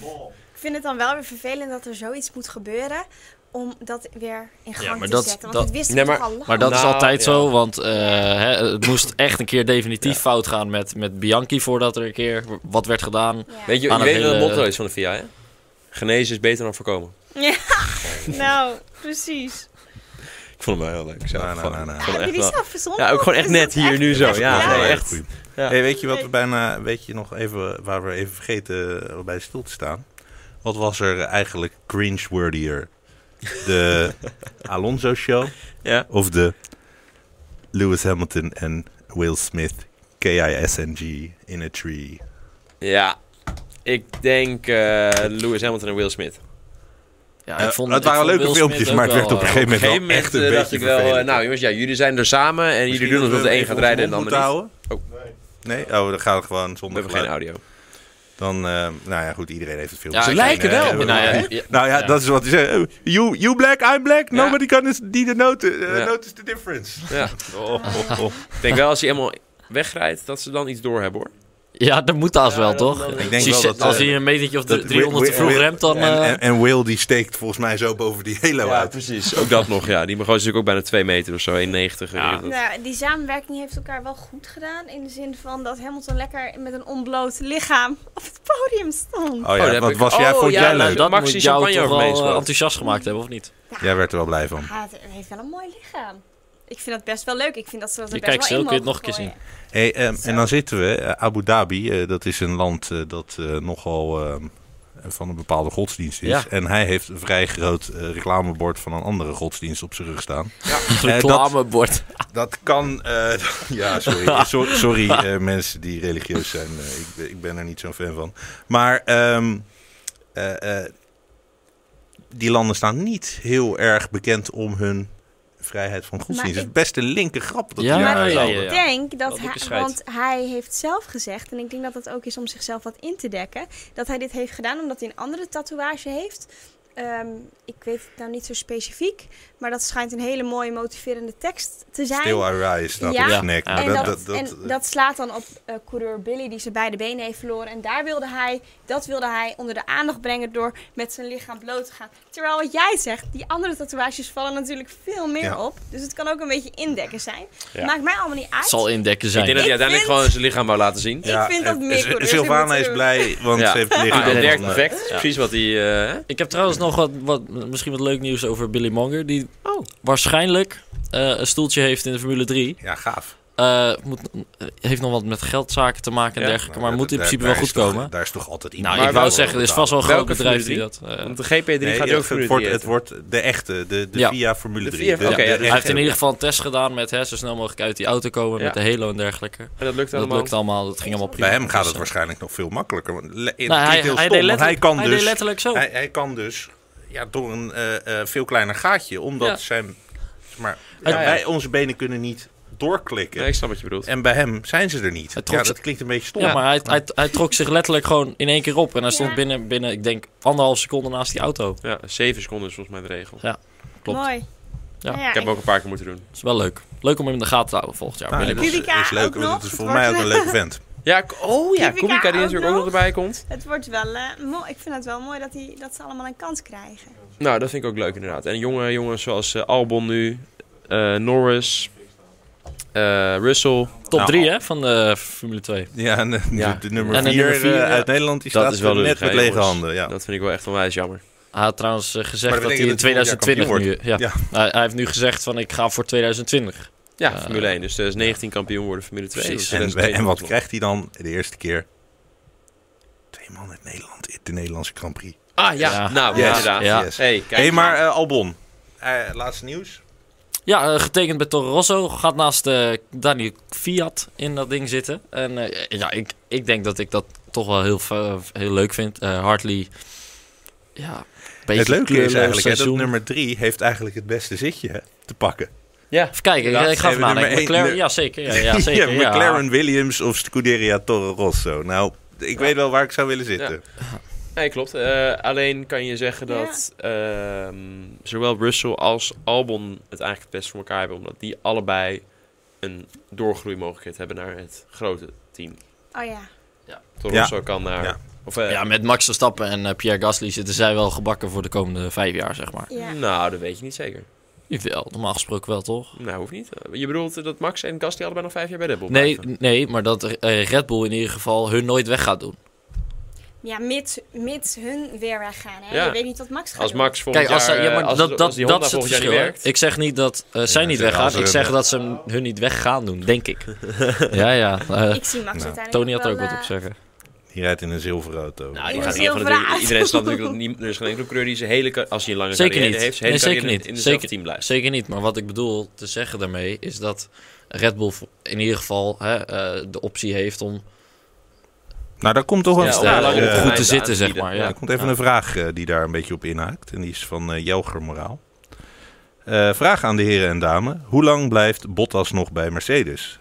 Speaker 4: Ik vind het dan wel weer vervelend dat er zoiets moet gebeuren om dat weer in gang
Speaker 3: maar
Speaker 4: te
Speaker 3: dat-
Speaker 4: zetten. Want
Speaker 3: dat-
Speaker 4: dat wisten
Speaker 1: Nee,
Speaker 4: we toch al lang.
Speaker 3: Maar dat is
Speaker 1: Nou,
Speaker 3: altijd
Speaker 1: ja.
Speaker 3: zo, want eh, hè, het moest echt een keer definitief fout gaan met, met Bianchi voordat er een keer wat werd gedaan.
Speaker 4: Ja.
Speaker 1: Weet je, je
Speaker 3: Aan het
Speaker 1: weet wat het
Speaker 3: hele-
Speaker 1: motto Ah, is eh, van de VIA, hè? Genezen is beter dan voorkomen.
Speaker 4: Nou, precies.
Speaker 1: Ik vond hem wel heel leuk. Zo.
Speaker 2: Nou, nou, nou, nou.
Speaker 1: Gewoon
Speaker 4: Heb je
Speaker 1: echt
Speaker 4: die
Speaker 1: wel-
Speaker 4: zelf verzonnen?
Speaker 1: Ja, ook gewoon echt
Speaker 4: Is dat
Speaker 1: net hier nu zo.
Speaker 4: echt-
Speaker 1: Ja,
Speaker 4: ja.
Speaker 1: nee,
Speaker 2: Ja,
Speaker 1: echt.
Speaker 2: goeie.
Speaker 1: Ja.
Speaker 2: Hey, weet je wat we bijna, weet je nog even, waar we even vergeten eh, bij stil te staan? Wat was er eigenlijk cringe-worthier? De Alonso-show
Speaker 1: Ja.
Speaker 2: of de Lewis Hamilton en Will Smith KISNG in a tree?
Speaker 1: ja. Ik denk eh, Lewis Hamilton en Will Smith.
Speaker 3: Ja,
Speaker 2: Eh, het waren
Speaker 3: vond
Speaker 2: leuke
Speaker 3: Will
Speaker 2: filmpjes,
Speaker 3: Smith ook
Speaker 2: maar het werd
Speaker 3: wel,
Speaker 2: op een
Speaker 3: eh,
Speaker 2: gegeven
Speaker 1: Op een gegeven
Speaker 2: moment, wel
Speaker 1: moment
Speaker 2: echt een
Speaker 1: eh,
Speaker 2: beetje
Speaker 1: dacht ik wel, eh,
Speaker 2: vervelend.
Speaker 1: nou jongens, ja, jullie zijn er samen en jullie doen alsof de een gaat rijden en de ander niet.
Speaker 2: Oh. Nee? Oh, dan gaat het gewoon
Speaker 1: We
Speaker 2: zonder
Speaker 1: hebben geen
Speaker 2: geluid.
Speaker 1: audio.
Speaker 2: Dan, eh, nou ja, goed, iedereen heeft het filmpje.
Speaker 3: Ja,
Speaker 1: Ze
Speaker 3: ik-
Speaker 1: lijken
Speaker 2: eh,
Speaker 1: wel,
Speaker 2: eh,
Speaker 1: maar
Speaker 3: nou ja,
Speaker 2: hè?
Speaker 3: ja,
Speaker 2: nou ja,
Speaker 3: ja.
Speaker 2: dat is wat hij zegt. You, you black, I'm black.
Speaker 1: Ja.
Speaker 2: Nobody can is- die the note, eh,
Speaker 1: Ja.
Speaker 2: notice the difference.
Speaker 1: Ja.
Speaker 2: Oh, oh, oh.
Speaker 1: Ik denk wel als hij helemaal wegrijdt, dat ze dan iets doorhebben hoor.
Speaker 3: Ja, dat moet haast
Speaker 1: Ja,
Speaker 3: wel,
Speaker 1: dat-
Speaker 3: toch?
Speaker 1: dat- Ik
Speaker 2: denk wel
Speaker 3: Precies,
Speaker 2: dat, eh,
Speaker 3: als hij een metertje of
Speaker 2: dat-
Speaker 3: 300 te
Speaker 2: Wi-
Speaker 3: vroeg
Speaker 2: Wi-
Speaker 3: remt, dan...
Speaker 2: En,
Speaker 3: eh,
Speaker 2: en, en Will die steekt volgens mij zo boven die halo uit.
Speaker 1: precies. Ook dat nog, ja. Die begon natuurlijk ook bijna 2 meter of zo, 1,90.
Speaker 3: Ja.
Speaker 1: weet je
Speaker 4: Nou, die samenwerking heeft elkaar wel goed gedaan. In de zin van dat Hamilton lekker met een onbloot lichaam op het podium stond.
Speaker 2: Oh
Speaker 1: daar
Speaker 2: ja,
Speaker 1: heb
Speaker 2: wat
Speaker 1: ik-
Speaker 2: was jij,
Speaker 1: oh,
Speaker 2: vond
Speaker 1: ja,
Speaker 2: jij
Speaker 1: nou,
Speaker 2: leuk?
Speaker 1: dat
Speaker 3: dat
Speaker 1: Maxi
Speaker 3: moet jou
Speaker 1: champagne
Speaker 3: toch
Speaker 1: over
Speaker 3: wel
Speaker 1: meespeelt.
Speaker 3: eh, enthousiast gemaakt hebben, of niet?
Speaker 2: Jij werd er wel blij
Speaker 3: Ah.
Speaker 2: van.
Speaker 4: Hij had- hij Ah, heeft wel een mooi lichaam. Ik vind dat best wel leuk. Ik vind dat ze dat er
Speaker 3: Je
Speaker 4: best
Speaker 3: kijkt
Speaker 4: wel in
Speaker 3: zo, kun je het
Speaker 4: mogen
Speaker 3: nog een keer
Speaker 4: gooien.
Speaker 2: Hey, ehm, en dan zitten we, eh, Abu Dhabi, eh, dat is een land eh, dat eh, nogal ehm, van een bepaalde godsdienst is.
Speaker 3: Ja.
Speaker 2: En hij heeft een vrij groot eh, reclamebord van een andere godsdienst op zijn rug staan. Eh, dat-
Speaker 3: Reclamebord.
Speaker 2: Dat kan. eh, ja, sorry. So- sorry eh, mensen die religieus zijn. Eh, ik, ben- ik ben er niet zo'n fan van. Maar ehm, eh, eh, die landen staan niet heel erg bekend om hun vrijheid van godsdienst.
Speaker 4: Maar
Speaker 2: Het is
Speaker 4: ik-
Speaker 2: best een linker grap. Dat
Speaker 3: Ja,
Speaker 2: die
Speaker 4: maar
Speaker 2: daar
Speaker 3: ja,
Speaker 2: zouden.
Speaker 3: ja, ja.
Speaker 4: ik denk dat
Speaker 3: Wat een
Speaker 4: hij,
Speaker 3: bescheid.
Speaker 4: want hij heeft zelf gezegd, en ik denk dat dat ook is om zichzelf wat in te dekken, dat hij dit heeft gedaan omdat hij een andere tatoeage heeft. Ehm, ik weet het nou niet zo specifiek, maar dat schijnt een hele mooie motiverende tekst te zijn.
Speaker 2: Still I rise, staat
Speaker 4: Ja.
Speaker 2: op
Speaker 3: Ja.
Speaker 2: zijn nek.
Speaker 3: En
Speaker 2: Maar
Speaker 4: en, dat,
Speaker 2: dat- dat- dat-
Speaker 4: en dat slaat dan op eh, coureur Billy, die zijn beide benen heeft verloren. En daar wilde hij, dat wilde hij onder de aandacht brengen door met zijn lichaam bloot te gaan. Terwijl wat jij zegt, die andere tatoeages vallen natuurlijk veel meer
Speaker 2: Ja.
Speaker 4: op. Dus het kan ook een beetje indekken zijn.
Speaker 1: Ja.
Speaker 4: Maakt mij allemaal niet uit.
Speaker 3: Het zal indekken
Speaker 1: Ik denk
Speaker 3: zijn.
Speaker 1: dat hij uiteindelijk
Speaker 4: vind-
Speaker 1: gewoon zijn lichaam wou laten zien.
Speaker 4: ik vind dat
Speaker 2: en-
Speaker 4: meer
Speaker 2: en-
Speaker 4: coureurs
Speaker 2: Sylvana
Speaker 4: moeten
Speaker 2: is
Speaker 4: doen.
Speaker 2: blij, want
Speaker 1: Ja.
Speaker 2: ze heeft liggen.
Speaker 1: Ah, dat werkt
Speaker 2: dan, eh,
Speaker 1: perfect. Precies wat hij... eh, hè?
Speaker 3: Ik heb trouwens nog wat, wat, misschien wat leuk nieuws over Billy Monger. Die
Speaker 1: Oh.
Speaker 3: waarschijnlijk eh, een stoeltje heeft in de Formule 3.
Speaker 2: Ja, gaaf.
Speaker 3: Eh, moet, heeft nog wat met geldzaken te maken en
Speaker 1: Ja,
Speaker 3: dergelijke. Maar
Speaker 2: dat-
Speaker 3: moet in
Speaker 2: daar-
Speaker 3: principe
Speaker 2: daar
Speaker 3: wel goed
Speaker 2: is toch-
Speaker 3: komen.
Speaker 2: Daar is toch altijd iemand.
Speaker 3: Nou,
Speaker 1: Maar
Speaker 3: ik wou
Speaker 1: welke-
Speaker 3: zeggen, er is vast wel een groot
Speaker 1: welke
Speaker 3: bedrijf die
Speaker 1: Formule
Speaker 3: dat... eh,
Speaker 1: Want de GP3
Speaker 2: Nee,
Speaker 1: gaat
Speaker 2: het,
Speaker 1: ook Formule
Speaker 2: het wordt,
Speaker 1: 3
Speaker 2: het
Speaker 1: eten.
Speaker 2: wordt de echte, de, de
Speaker 3: Ja.
Speaker 2: VIA Formule
Speaker 1: De
Speaker 2: 3.
Speaker 1: VIA,
Speaker 2: de,
Speaker 1: oké,
Speaker 2: de
Speaker 1: ja, dus
Speaker 2: echte.
Speaker 3: hij heeft in ieder geval een test gedaan met hè, zo snel mogelijk uit die auto komen.
Speaker 1: Ja.
Speaker 3: Met de Halo en dergelijke.
Speaker 1: En dat lukt
Speaker 3: Dat
Speaker 1: allemaal.
Speaker 3: lukt allemaal, dat ging allemaal prima.
Speaker 2: Bij hem gaat het
Speaker 3: Dus,
Speaker 2: waarschijnlijk nog veel makkelijker. want le-
Speaker 3: eh,
Speaker 2: het
Speaker 3: nou,
Speaker 2: klinkt
Speaker 3: hij,
Speaker 2: heel
Speaker 3: hij
Speaker 2: stom,
Speaker 3: deed
Speaker 2: want hij
Speaker 3: letterlijk,
Speaker 2: kan
Speaker 3: hij deed
Speaker 2: dus,
Speaker 3: letterlijk zo.
Speaker 2: hij, hij kan dus ja, door een eh, eh, veel kleiner gaatje, omdat
Speaker 3: Ja.
Speaker 2: zijn, zeg maar,
Speaker 3: Hij-
Speaker 2: ja, wij onze benen kunnen niet doorklikken.
Speaker 1: Nee, ik snap wat je bedoelt.
Speaker 2: En bij hem zijn ze er niet.
Speaker 3: Hij trok
Speaker 2: Ja,
Speaker 3: ze-
Speaker 2: dat klinkt een beetje stom.
Speaker 3: Ja, maar hij, hij, hij trok zich letterlijk gewoon in één keer op. En hij stond
Speaker 4: Ja.
Speaker 3: binnen, binnen, ik denk, anderhalf seconde naast die auto.
Speaker 1: Ja, 7 seconden is volgens mij de regel.
Speaker 3: Klopt.
Speaker 4: Mooi.
Speaker 3: Ja.
Speaker 4: Nou
Speaker 1: Ik heb hem ook een paar keer moeten doen.
Speaker 3: Dat is wel leuk. Leuk om hem in de gaten te houden volgend jaar.
Speaker 2: Nou,
Speaker 3: Billy
Speaker 2: dat is,
Speaker 4: Kubica
Speaker 2: is leuk,
Speaker 4: ook
Speaker 2: want
Speaker 4: nog.
Speaker 2: het is volgens mij ook een leuke vent.
Speaker 1: Ja, k- oh ja,
Speaker 4: Kubica
Speaker 1: Kubica die
Speaker 4: ook
Speaker 1: natuurlijk ook nog
Speaker 4: nog.
Speaker 1: erbij komt.
Speaker 4: Het wordt wel eh, mooi. Ik vind het wel mooi dat, die, dat ze allemaal een kans krijgen.
Speaker 1: Nou, dat vind ik ook leuk inderdaad. En jonge jongens zoals eh, Albon nu, eh, Norris, eh, Russell.
Speaker 3: Top
Speaker 2: Nou,
Speaker 3: 3 hè, van de Formule 2.
Speaker 2: Ja, en de,
Speaker 1: Ja.
Speaker 2: de- de nummer
Speaker 3: En eh, de
Speaker 2: 4
Speaker 3: nummer vier, eh, ja.
Speaker 2: uit Nederland die
Speaker 1: Dat
Speaker 2: staat
Speaker 1: is wel
Speaker 2: net
Speaker 1: lullig,
Speaker 2: met
Speaker 1: hè,
Speaker 2: lege
Speaker 1: jongens.
Speaker 2: handen. Ja.
Speaker 1: Dat vind ik wel echt onwijs jammer.
Speaker 3: Hij had trouwens eh, gezegd
Speaker 2: Maar
Speaker 3: dat
Speaker 2: dat
Speaker 3: hij in
Speaker 2: betekent dat hij volgend jaar
Speaker 3: 2020 nu... eh,
Speaker 2: Ja.
Speaker 3: Ja. Hij, hij heeft nu gezegd van, ik ga voor 2020.
Speaker 1: Ja,
Speaker 3: Eh,
Speaker 1: Formule 1. Dus 2019 kampioen worden, Formule Dus 2.
Speaker 3: precies.
Speaker 1: Dat
Speaker 2: En,
Speaker 1: is
Speaker 2: we- en wat
Speaker 1: 2020.
Speaker 2: krijgt hij dan de eerste keer? Twee man uit Nederland, de Nederlandse Grand Prix.
Speaker 1: Ah ja,
Speaker 3: Ja.
Speaker 1: nou
Speaker 2: Yes.
Speaker 1: inderdaad.
Speaker 3: Ja.
Speaker 2: Yes.
Speaker 1: Hey, kijk.
Speaker 2: Hé, hey, maar eh, Albon. Eh, laatste nieuws.
Speaker 3: Ja, eh, getekend bij Toro Rosso. Gaat naast eh Daniel Fiat in dat ding zitten. En eh, ja, ik, ik denk dat ik dat toch wel heel, fa- heel leuk vind. Eh Hartley, ja, een beetje
Speaker 2: het leuke is
Speaker 3: kleurloos
Speaker 2: eigenlijk hè, dat
Speaker 3: seizoen.
Speaker 2: nummer drie heeft eigenlijk het beste zitje hè, te pakken.
Speaker 1: Ja,
Speaker 3: Even kijken, ik-
Speaker 2: Inderdaad,
Speaker 3: ik ga even
Speaker 2: hebben we
Speaker 3: nadenken.
Speaker 2: nummer één,
Speaker 3: McLaren,
Speaker 2: nu-
Speaker 3: ja zeker. Ja, ja, zeker ja.
Speaker 2: McLaren Williams of Scuderia Toro Rosso. Nou, ik weet wel waar ik zou willen zitten.
Speaker 1: nee, klopt. Eh, alleen kan je zeggen dat ehm, zowel Russell als Albon het eigenlijk het best voor elkaar hebben. Omdat die allebei een doorgroeimogelijkheid hebben naar het grote team.
Speaker 4: Oh ja.
Speaker 1: Toro
Speaker 2: Ja.
Speaker 1: Rosso kan naar...
Speaker 2: Ja.
Speaker 1: Of, eh,
Speaker 3: Ja, met Max Verstappen en eh, Pierre Gasly zitten zij wel gebakken voor de komende vijf jaar, zeg maar.
Speaker 4: ja.
Speaker 1: Nou, dat weet je niet zeker.
Speaker 3: Jawel, normaal gesproken wel, toch?
Speaker 1: Nou, hoeft niet. Je bedoelt dat Max en Gast die allebei nog vijf jaar bij Red Bull
Speaker 3: Nee,
Speaker 1: blijven?
Speaker 3: nee, maar dat eh, Red Bull in ieder geval hun nooit weg gaat doen.
Speaker 4: Ja, mits, mits hun weer weggaan. Hè?
Speaker 1: Ja.
Speaker 4: Je weet niet wat Max gaat
Speaker 1: Als
Speaker 4: doen.
Speaker 1: Max volgend
Speaker 3: Kijk, als,
Speaker 1: jaar...
Speaker 3: zij- ja, maar
Speaker 1: eh, als,
Speaker 3: dat,
Speaker 1: het-
Speaker 3: dat,
Speaker 1: als die
Speaker 3: dat
Speaker 1: Honda
Speaker 3: is het
Speaker 1: volgend jaar
Speaker 3: verschil.
Speaker 1: niet
Speaker 3: hè.
Speaker 1: werkt...
Speaker 3: Ik zeg niet dat eh, zij
Speaker 2: Ja,
Speaker 3: niet
Speaker 2: zeg, als
Speaker 3: weggaan. Ik
Speaker 2: ze-
Speaker 3: zeg dat ze hem- hun niet weg gaan doen, denk ik. ja, ja. eh,
Speaker 4: Ik zie Max
Speaker 2: Nou,
Speaker 4: uiteindelijk
Speaker 3: Tony had er ook
Speaker 4: wel,
Speaker 3: wat op
Speaker 4: eh,
Speaker 3: zeggen.
Speaker 2: Die rijdt in een zilveren auto.
Speaker 1: Nou,
Speaker 4: die
Speaker 1: je
Speaker 4: Ja,
Speaker 1: gaat
Speaker 4: dat is
Speaker 1: niet
Speaker 4: heel
Speaker 1: van natuurlijk,
Speaker 4: raar.
Speaker 1: iedereen snapt natuurlijk dat nie- er is geen enkele coureur die zijn hele, ca- als hij een lange
Speaker 3: Zeker
Speaker 1: carrière
Speaker 3: niet.
Speaker 1: heeft, zijn hele
Speaker 3: Nee, zeker
Speaker 1: carrière in-
Speaker 3: niet.
Speaker 1: in hetzelfde
Speaker 3: Zeker-
Speaker 1: team blijft.
Speaker 3: Zeker niet, maar wat ik bedoel te zeggen daarmee is dat Red Bull voor- in ieder geval hè, eh, de optie heeft om
Speaker 2: Nou, daar komt toch wel
Speaker 1: Ja,
Speaker 2: een
Speaker 3: eh,
Speaker 1: om daar
Speaker 2: vraag.
Speaker 1: langer op
Speaker 2: eh,
Speaker 3: om goed
Speaker 1: termijn
Speaker 3: te
Speaker 1: te
Speaker 3: zitten, zeg
Speaker 1: aanbieden.
Speaker 3: maar.
Speaker 2: Ja,
Speaker 3: Ja.
Speaker 2: er komt even
Speaker 3: Ja.
Speaker 2: een vraag eh, die daar een beetje op inhaakt. En die is van eh, Jelger Moraal. Eh, vraag aan de heren en dames. Hoe lang blijft Bottas nog bij Mercedes?